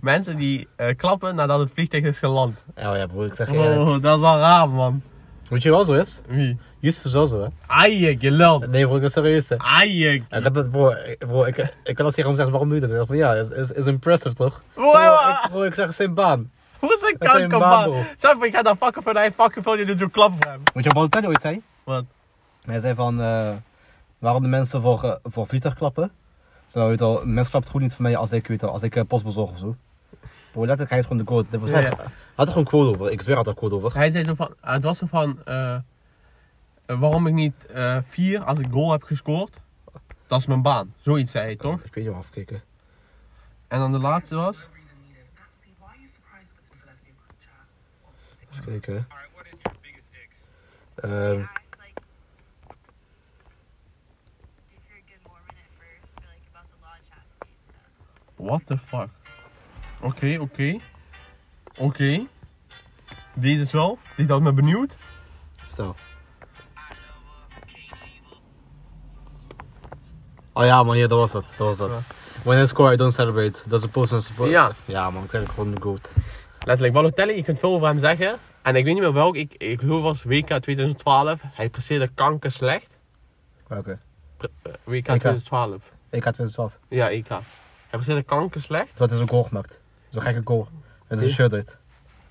S1: Mensen die eh, klappen nadat het vliegtuig is geland.
S2: Oh ja, broer. Ik zeg je eerlijk.
S1: Oh, dat is al raar, man.
S2: Weet je wel zo is?
S1: Wie?
S2: Justus is wel zo, hè?
S1: Aie, geleld.
S2: Nee, bro, ik ben serieus,
S1: Ah.
S2: hè?
S1: Aie.
S2: Ik had dat, bro, ik- bro ik, ik kan als tegen hem zeggen, waarom doe je dat? Ik dacht van, ja, is, is, is impressive, toch? Bro, ik, bro, ik zeg, het is zijn baan.
S1: Hoe is een
S2: Dat zijn
S1: kankerman?
S2: babel.
S1: Zeg maar, ik ga daar fucking van, hij fucking van, je doet zo'n klap voor hem.
S2: Weet je wat Balotelli ooit zei?
S1: Wat?
S2: Hij zei van, eh, waarom de mensen voor, eh, voor vliegtuig klappen? Zo, weet je wel, een mens klapt goed niet voor mij als ik, weet je wel, als ik eh, post bezorg of zo. Bro, letterlijk, hij is gewoon de quote. Dit was-
S1: Ja, ja.
S2: Hij had er gewoon quote over, ik zweer hij had er quote over.
S1: Hij zei zo van, het was zo van, eh, eh, waarom ik niet eh, vier als ik goal heb gescoord? Dat is mijn baan. Zoiets zei hij toch?
S2: Ik weet niet waar afkeken.
S1: En dan de laatste was,
S3: reason needed. Ah, see, why are you surprised that the last paper chat? Oh, sick.
S2: Even kijken.
S4: Alright, what is your biggest ick?
S2: Ehm,
S5: asked like if you're a good Mormon at first, or like about the law of chastity and stuff.
S1: what the fuck? Oké, oké. Oké. Deze is wel, die had me benieuwd.
S2: zo. Oh ja man, ja, dat was dat, dat was dat.
S1: Ja.
S2: When I score, I don't celebrate. Dat is een post en support.
S1: Ja.
S2: Ja man, ik zeg gewoon de goat.
S1: Letterlijk, Balotelli, je kunt veel over hem zeggen. En ik weet niet meer welk, ik, ik geloof was WK 2012. Hij presteerde kanker slecht.
S2: Oké.
S1: Pre- eh,
S2: E
S1: WK 2012.
S2: Ik had 2012.
S1: Ja, EK. Hij presteerde kanker slecht.
S2: Dat is een goal gemaakt. Zo'n gekke goal. Het is een shirt uit.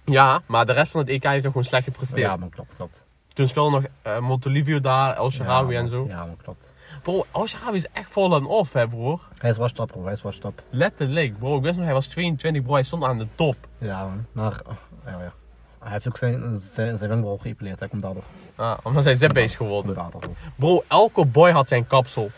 S1: Ja, maar de rest van het EK heeft hij gewoon slecht gepresteerd.
S2: Ja man, klopt, klopt.
S1: Toen speelde nog eh Montelivio daar, El Shaarawy
S2: ja,
S1: en
S2: man.
S1: zo.
S2: Ja man, klopt.
S1: Bro, El Shaarawy is echt vol en off, hè, broer.
S2: Hij is washed up bro, hij is washed up.
S1: Letterlijk, bro. Ik wist nog, hij was 22, bro. Hij stond aan de top.
S2: Ja man, maar... oh, ja, ja. Hij heeft ook zijn, zijn, zijn wenkbrauw geïpeleerd, hij komt daardoor.
S1: Ah, omdat hij zip is
S2: Komt
S1: geworden.
S2: daardoor. bro.
S1: Bro, elke boy had zijn kapsel.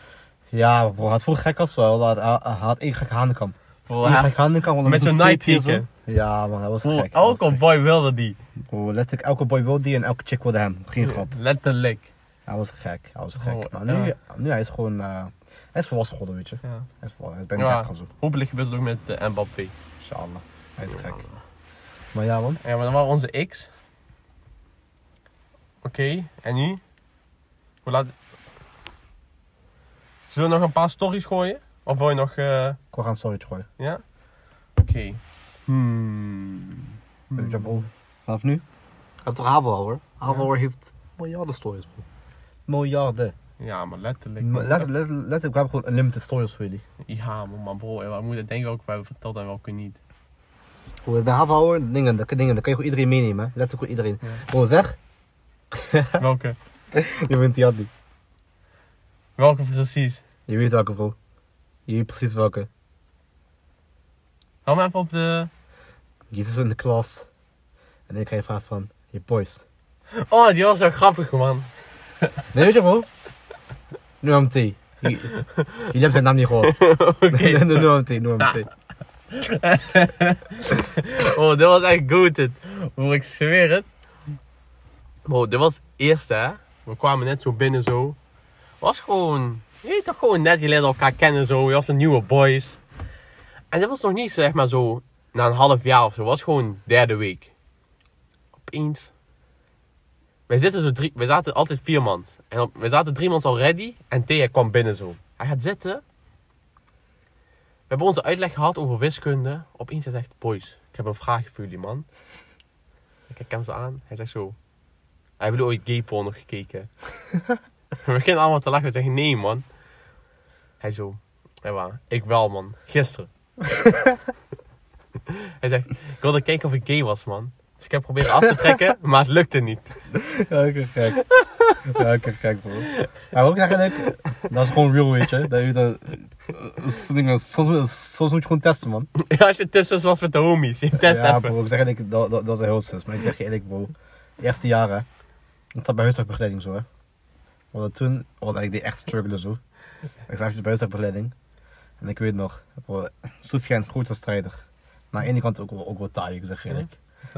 S2: Ja bro, hij had vroeger gek als wel. Hij had- hij had één gekke handenkamp.
S1: Bro,
S2: Eén
S1: hij-
S2: gekke handenkamp. want
S1: Met
S2: dan
S1: zo'n
S2: een streepje
S1: Nike-kick,
S2: zo. Ja man, hij was
S1: bro,
S2: gek. hij was
S1: elke
S2: gek.
S1: boy wilde die.
S2: Bro, letterlijk elke boy wilde die en elke chick wilde hem. Geen grap.
S1: Letterlijk.
S2: Hij was gek, hij was gek.
S1: Oh,
S2: maar nu,
S1: ja.
S2: nu hij is gewoon... eh, hij is volwassen geworden, weet je.
S1: Ja.
S2: Hij is, vol- hij is bijna
S1: Ja.
S2: 30 of zo.
S1: Hopelijk gebeurt het ook met eh, Mbappé.
S2: Inshallah. Hij is gek. Maar ja man.
S1: Ja, maar dan waren onze X. Oké, en nu? Hoe laat... Zullen we nog een paar stories gooien? Of wil je nog... eh,
S2: Ik wil gaan sorry gooien.
S1: Ja? Oké. Hmm.
S2: Weet je bro. Vanaf nu? Ik heb toch Havel hoor. Havel heeft miljarden stories bro. Miljarden.
S1: Ja, maar letterlijk.
S2: Let, let, let, let, ik heb gewoon unlimited stories voor jullie.
S1: Ja, maar, maar bro, we moeten denken welke we hebben verteld en welke niet.
S2: Bro, bij Havel hoor, dingen, dat- dingen, daar kan je gewoon iedereen meenemen. hè. Let ook gewoon iedereen.
S1: Ja.
S2: Bro zeg,
S1: welke?
S2: je wint die had niet.
S1: Welke precies?
S2: Je weet welke bro. Je weet precies welke.
S1: Hou me even op de...
S2: Je zit zo in de klas. En ik krijg je vraag van, je boys.
S1: Oh, die was wel grappig, man.
S2: Nee, weet je bro? Noem T. Jullie hebben zijn naam niet gehoord.
S1: Oké. Ah.
S2: Noem T, Noem T.
S1: Oh, dit was echt goated. Broer, ik zweer het. Bro, dit was het eerste, hè. We kwamen net zo binnen, zo. Was gewoon... Je weet toch gewoon net, je leerde elkaar kennen, zo. Je was met nieuwe boys. En dit was nog niet, zeg maar, zo... Na een half jaar of zo. was gewoon derde week. Opeens... Wij, zitten zo drie, wij zaten altijd vier man. En op, wij zaten drie man al ready. En Thea kwam binnen, zo. Hij gaat zitten. We hebben onze uitleg gehad over wiskunde. Opeens hij zegt, boys, ik heb een vraag voor jullie, man. Ik kijk hem zo aan. Hij zegt zo, hebben jullie ooit gay porn nog gekeken? we beginnen allemaal te lachen. We zeggen, nee, man. Hij zo, ja, waar, ik wel, man. Gisteren. hij zegt, ik wilde kijken of ik gay was, man. Dus ik heb proberen af te trekken, maar het lukte niet.
S2: Welke gek. Welke gek, bro. Maar ook eigenlijk, dat is gewoon real, weet je. Dat je dat, soms, soms, soms moet je gewoon testen, man.
S1: Als je tussen was met de homies, je test
S2: ja,
S1: even.
S2: bro, ik zeg eigenlijk, dat, dat, dat is een heel sis. Maar ik zeg je eerlijk, bro. De eerste jaren, ik zat bij huiswerkbegeleiding zo, hè. Want toen, want ik deed echt struggelen zo. Ik zag je bij huiswerkbegeleiding. En ik weet nog, bro, Sofian, grote strijder. Maar aan de ene kant ook wel, ook wel taai, ik zeg je eerlijk.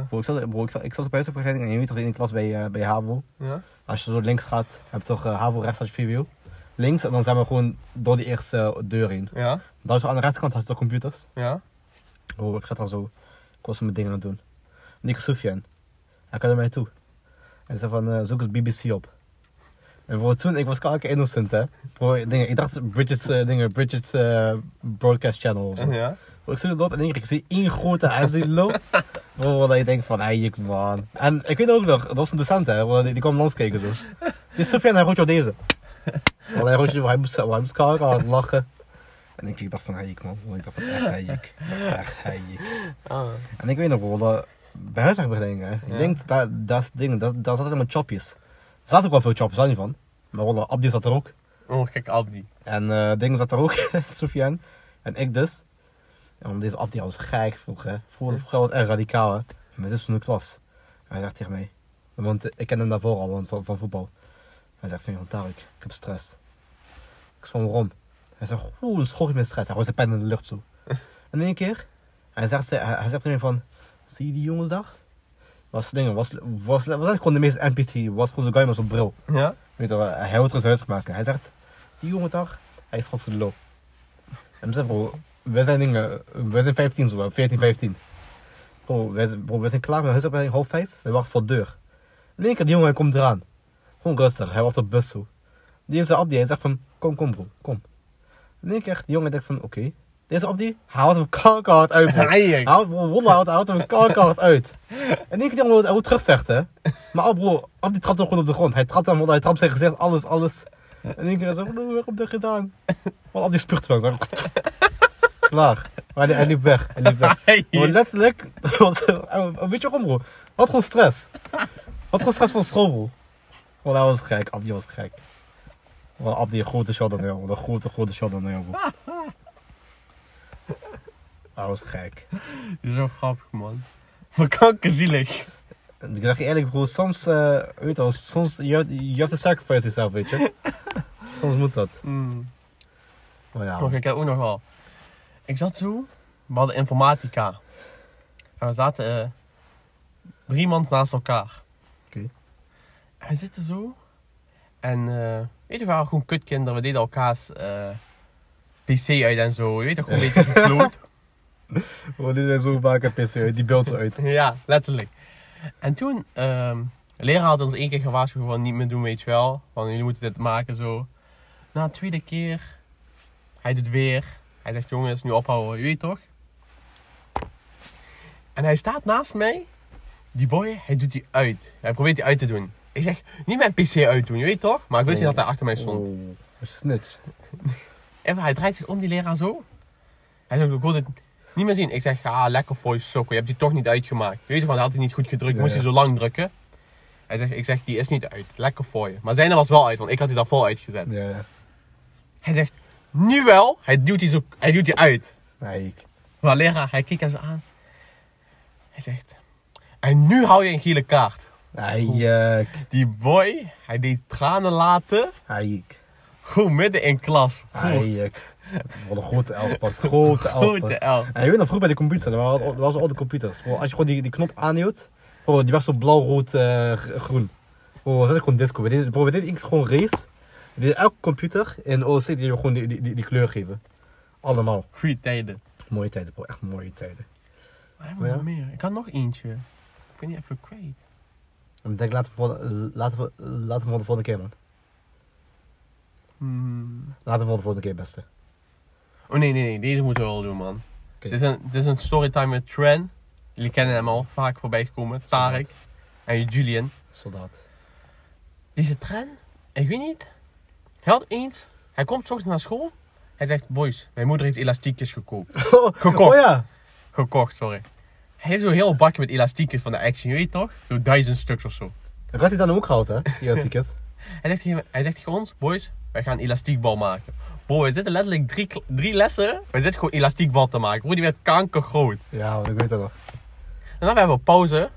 S2: Bro, ik zat, bro, ik zat, ik zat bij huiswerkbegeleiding en je weet toch in de klas bij, eh, bij HAVO.
S1: Ja?
S2: Als je zo links gaat, heb je toch eh, HAVO rechts als je VWO. Links, en dan zijn we gewoon door die eerste eh, deur heen.
S1: Ja?
S2: Dan zo aan de rechterkant had je toch computers.
S1: Ja?
S2: Bro, Oh, ik zat al zo. Ik was mijn dingen aan het doen. Nick Soufian. Hij kwam naar mij toe. Hij zei van, eh, zoek eens BBC op. En bro, toen, ik was kalke innocent, hè. Bro, dingen, ik dacht Bridget's, eh, dingen, Bridget's eh, Broadcast Channel of zo.
S1: Ja?
S2: Ik zoek het op en denk ik, ik zie één grote ijsdilo. Bro, dat je denkt van, hey, ik man. En ik weet ook nog, dat was een docent hè, want die, die kwam langskijken zo. Dit is Sofian, hij roodje op deze. Want hij roodje, hij moest, hij moest kaken, hij had lachen. En ik ik dacht van, hey, ik man. Ik dacht van, echt, hey, ik. Echt, hey, ik.
S1: Ah.
S2: En ik weet nog wel, dat bij huisartsbegeleiding, hè. Ik
S1: Ja. denk
S2: denk, dat, dat is dingen, daar dat zaten helemaal chopjes. Er zaten ook wel veel chopjes, daar niet van. Maar wel, Abdi zat er ook.
S1: Oh, gek Abdi.
S2: En eh Ding zat er ook, Sofian. En ik dus. En want deze Abdi was gek vroeger. Vroeger, vroeger was hij erg radicaal, hè. Mijn zus was in de klas. En hij zegt tegen mij, want ik ken hem daarvoor al want, van, van voetbal. Hij zegt tegen mij, van Tarek, ik heb stress. Ik zeg van waarom? Hij zegt, oeh, een schokje met stress. Hij gooit zijn pen in de lucht zo. En in één keer, hij zegt, hij, hij zegt tegen mij van, zie je die jongens daar? Was dingen, was, was, was, eigenlijk gewoon de meest NPC, was gewoon zo'n guy met zo'n bril.
S1: Ja?
S2: Weet je wel, hij houdt er zijn huis maken. Hij zegt, die jongen daar, hij is gewoon de loop. En besef bro, wij zijn dingen, wij zijn 15 zo, hè, 14, 15. Bro, wij zijn, bro, wij zijn klaar met huisopleiding half vijf, we wachten voor de deur. In één keer, die jongen, hij komt eraan. Gewoon rustig, hij wacht op de bus zo. Die is Abdi, hij zegt van, kom, kom bro, kom. In één keer, die jongen denkt van, oké. Deze Abdi, hij houdt hem kankerhard uit bro.
S1: Hij,
S2: Hij houdt, bro, Wolle houdt, houdt hem kankerhard uit. En ik denk dat hij wil terugvechten. hè. Maar oh bro, Abdi trapt hem gewoon op de grond. Hij trapt hem, hij trapt zijn gezicht, alles, alles. En ik denk zo, van, hoe heb ik dat gedaan? Want Abdi spuugt wel. zo. Klaar. Maar hij, hij liep weg, hij liep weg.
S1: Hij.
S2: Maar letterlijk, want, eh, weet je waarom bro? Wat gewoon stress. Wat gewoon stress van school bro. Want hij was gek, Abdi was gek. Want Abdi een grote shot dan jou, bro. een grote, grote shot dan jou bro. Hij was gek.
S1: Dit is wel grappig, man. Maar kankerzielig.
S2: Ik dacht je eerlijk, bro, soms, eh, weet je wel, soms, you have, you have to sacrifice yourself, weet je. soms moet dat.
S1: Mm.
S2: Maar ja,
S1: Oh, ik heb ook nog wel. Ik zat zo, we hadden informatica. En we zaten eh, drie man naast elkaar.
S2: Oké.
S1: En we zitten zo. En eh, weet je, we waren gewoon kutkinderen. We deden elkaars eh, pc uit en zo. Je weet toch, gewoon een beetje gekloot.
S2: bro, dit is zo vaak een pissen, joh, die beeld zo uit.
S1: ja, letterlijk. En toen, ehm de leraar had ons één keer gewaarschuwd van niet meer doen, weet je wel. Van jullie moeten dit maken zo. Na de tweede keer, hij doet weer. Hij zegt, jongens, nu ophouden, je weet toch? En hij staat naast mij. Die boy, hij doet die uit. Hij probeert die uit te doen. Ik zeg, niet mijn pc uitdoen, je weet toch? Maar ik wist niet dat hij achter mij stond.
S2: Oh, snitch.
S1: Even, hij draait zich om die leraar zo. Hij zegt, ik wil dit niet meer zien. Ik zeg, ah, lekker voor je sokken. Je hebt die toch niet uitgemaakt. Weet je, want hij had die niet goed gedrukt.
S2: Ja,
S1: moest
S2: ja.
S1: hij zo lang drukken. Hij zegt, ik zeg, die is niet uit. Lekker voor je. Maar zijne was wel uit, want ik had die daarvoor uitgezet.
S2: Ja, ja.
S1: Hij zegt, nu wel. Hij duwt die, zo, hij duwt die uit.
S2: Nee, ik.
S1: Maar leraar, hij kijkt hem zo aan. Hij zegt, en nu hou je een gele kaart.
S2: Nee, eh,
S1: Die boy, hij deed tranen laten.
S2: nee, ik.
S1: Gewoon midden in klas. Gewoon
S2: Nee, ik. Wat een grote elfpad, grote
S1: grote
S2: elfpad.
S1: L.
S2: En je weet nog, vroeger bij de computer, er waren al- er waren al de computers. Bro, als je gewoon die, die knop aanhield, bro, die was zo blauw, rood, eh, gr- groen. Bro, dat is gewoon disco. We deden, bro, we deden iets gewoon race. We deden elke computer in OC die we gewoon die, die, die, die kleur geven. Allemaal.
S1: Goeie tijden.
S2: Mooie tijden, bro. Echt mooie tijden.
S1: Maar hebben we
S2: Ja.
S1: nog meer? Ik had nog eentje. Ik ben niet even kwijt.
S2: En ik denk, laten we, voor, laten, we, laten we voor de volgende keer, man.
S1: Hmm.
S2: Laten we voor de volgende keer, beste.
S1: Oh nee, nee, nee. Deze moeten we wel doen, man.
S2: Oké.
S1: Dit, is een, dit is een storytime met Tran. Jullie kennen hem al. Vaak voorbij gekomen. Tarek. En Julian.
S2: Soldaat.
S1: Deze Tran. Ik weet niet. Hij had eens. Hij komt 's ochtends naar school. Hij zegt, boys, mijn moeder heeft elastiekjes gekoopt.
S2: Gekocht. Oh ja.
S1: Gekocht, sorry. Hij heeft zo'n heel bakje met elastiekjes van de Action, je weet toch? Zo'n duizend stuks of zo.
S2: Dat had hij dan ook gehouden, hè? Die elastiekjes.
S1: Hij zegt, tegen, hij zegt tegen ons, boys, wij gaan een elastiekbal maken. Bro, we zitten letterlijk drie, kl- drie lessen, we zitten gewoon elastiekbal te maken. Bro, die werd kankergroot.
S2: Ja, man, ik weet dat nog.
S1: En dan hebben we pauze.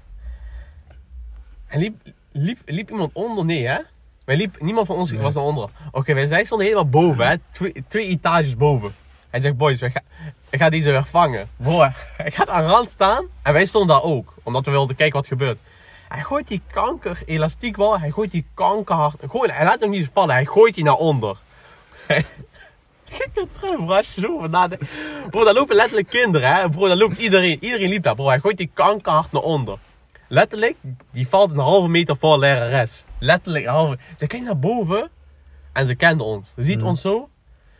S1: En liep, liep, liep iemand onder? Nee, hè? Wij liep, niemand van ons
S2: Nee.
S1: was eronder. Oké, wij zij stonden helemaal boven, hè? Twee, twee etages boven. Hij zegt, boys, wij ga, ik ga deze weer vangen. Bro, hij gaat aan de rand staan. En wij stonden daar ook, omdat we wilden kijken wat gebeurt. Hij gooit die kanker elastiekbal, hij gooit die kankerhard. Gewoon, hij laat hem niet vallen, hij gooit die naar onder. Gekke trui, bro, als je zo over nadenkt. Bro, daar lopen letterlijk kinderen, hè. Bro, daar loopt iedereen. Iedereen liep daar, bro. Hij gooit die kankerhard naar onder. Letterlijk, die valt een halve meter voor lerares. Letterlijk een halve. Ze kijkt naar boven en ze kende ons. Ze ziet ons zo.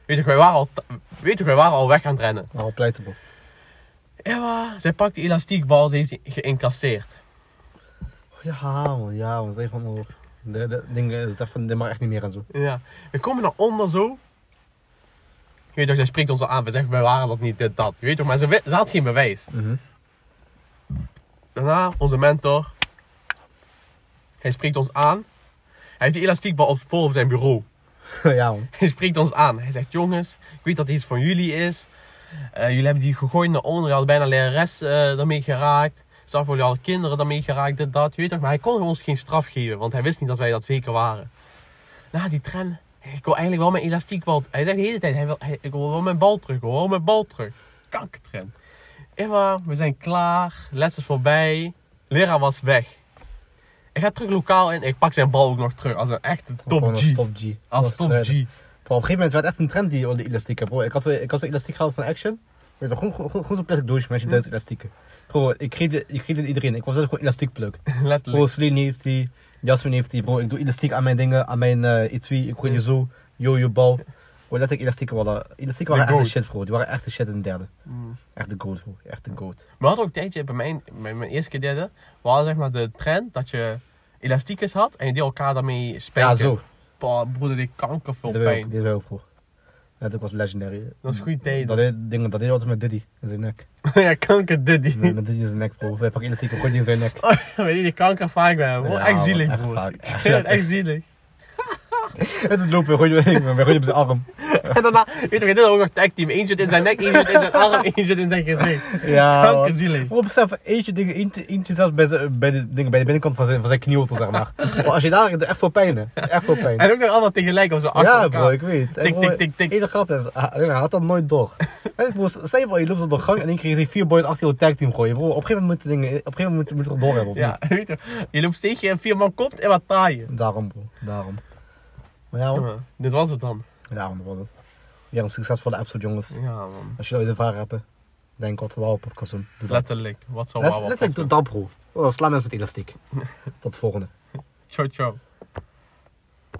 S1: Weet je, wij waren al, t- weet je, wij waren al weg aan het rennen.
S2: Nou, pleiten, bro.
S1: Ewa, zij pakt die elastiekbal, ze heeft die geïncasseerd.
S2: Ja, man, ja, man, dat is van hoor. De, de dingen, dat van, dit mag echt niet meer en zo.
S1: Ja. We komen naar onder zo. Je weet toch, zij spreekt ons al aan. We zeggen, wij waren dat niet, dit, dat. Je weet toch, maar ze, we- ze had geen bewijs.
S2: Mhm.
S1: Daarna, onze mentor. Hij spreekt ons aan. Hij heeft die elastiekbal op vol op zijn bureau.
S2: ja, man.
S1: Hij spreekt ons aan. Hij zegt, jongens, ik weet dat dit iets van jullie is. Eh, jullie hebben die gegooid naar onder. Je had bijna lerares eh daarmee geraakt. Straf voor jullie alle kinderen daarmee geraakt, dit, dat. Je weet toch, maar hij kon ons geen straf geven. Want hij wist niet dat wij dat zeker waren. Na die tren, ik wil eigenlijk wel mijn elastiekbal... Hij zegt de hele tijd, hij wil, hij- ik wil wel mijn bal terug. Ik wil wel mijn bal terug. Kankertren. Emma, we zijn klaar. Les is voorbij. Leraar was weg. Ik ga terug lokaal in. Ik pak zijn bal ook nog terug. Als een echte
S2: Gewoon
S1: top
S2: als
S1: G.
S2: Top G.
S1: Als top G.
S2: Bro, op een gegeven moment werd echt een trend die de elastieken. Bro, ik had, zo- ik had zo'n elastiek gehaald van Action. Weet je, gewoon, gewoon, gewoon zo'n plastic doosje met je Duitse elastieken. Bro, ik geef, dit- ik geef dit iedereen. Ik was zelf gewoon elastiek pluk. Bro,
S1: Letterlijk.
S2: Celine heeft die, Jasmin heeft die. Bro, ik doe elastiek aan mijn dingen, aan mijn eh etui. Ik gooi die zo, yo, yo, bal. Bro, letterlijk elastieken waren, elastieken
S1: De
S2: waren echt de
S1: goat.
S2: shit, bro. Die waren echt de shit in de derde.
S1: Mm.
S2: Echt de goat, bro. Echt de goat.
S1: We hadden ook een tijdje bij mijn, bij mijn eerste keer derde. We hadden zeg maar de trend dat je elastiekjes had en je deed elkaar daarmee spelen.
S2: Ja, zo.
S1: broeder, die kanker veel
S2: Dit wil ook,
S1: pijn.
S2: dit wil ook, bro. Letterlijk was legendary. Mm.
S1: Dat is een goede tijd.
S2: Dat deed, dingen- dat deed altijd met Diddy in zijn nek.
S1: ja, kanker Diddy.
S2: Nee, met Diddy in zijn nek, bro. Wij pakken elastiek, we gooien die in zijn nek.
S1: Oh, weet je, die kanker vaak bij hem. hoor.
S2: Ja,
S1: echt
S2: man,
S1: zielig,
S2: echt
S1: broer.
S2: vaak.
S1: Ik zweer het, echt zielig.
S2: Het is lopen, we gooien hem- we gooien hem op zijn arm.
S1: En daarna, weet je, dit is ook nog tag team. Eén zit in zijn nek, één zit in zijn arm, één zit in zijn gezicht.
S2: Ja, man.
S1: Kankerzielig.
S2: Op zelf eentje, ding, eentje, eentje zelfs bij, zijn- bij, de, ding, bij de binnenkant van zijn, van zijn knieholte, zeg maar. Maar als je daar, echt veel pijn, hè. Echt veel pijn.
S1: En ook nog allemaal tegelijk op zo achter
S2: Ja,
S1: elkaar.
S2: bro, ik weet. En
S1: Tik,
S2: bro,
S1: tik, tik, tik.
S2: Hele grap is, ah, hij had dat nooit door. En bro, stel je voor, je loopt op de gang en dan kreeg je vier boys achter je tag team gooien. Bro, op een gegeven moment moet je, op een gegeven moment moet, moet je het door hebben, of
S1: Ja, weet je, je loopt steeds en vier man komt en wat taaien.
S2: niet? Daarom, bro. Daarom. Maar ja, man.
S1: Ja, dit was het dan.
S2: Ja, man, dat was het. Weer een succesvolle episode, jongens.
S1: Ja, man.
S2: Als jullie het ervaren hebben, denk wat we wel op podcast doen. Doe dat.
S1: Letterlijk. Wat zou
S2: Let-
S1: wauw.
S2: Letterlijk, doe dat, bro. Oh, sla mensen met elastiek. Tot de volgende.
S1: Ciao, ciao.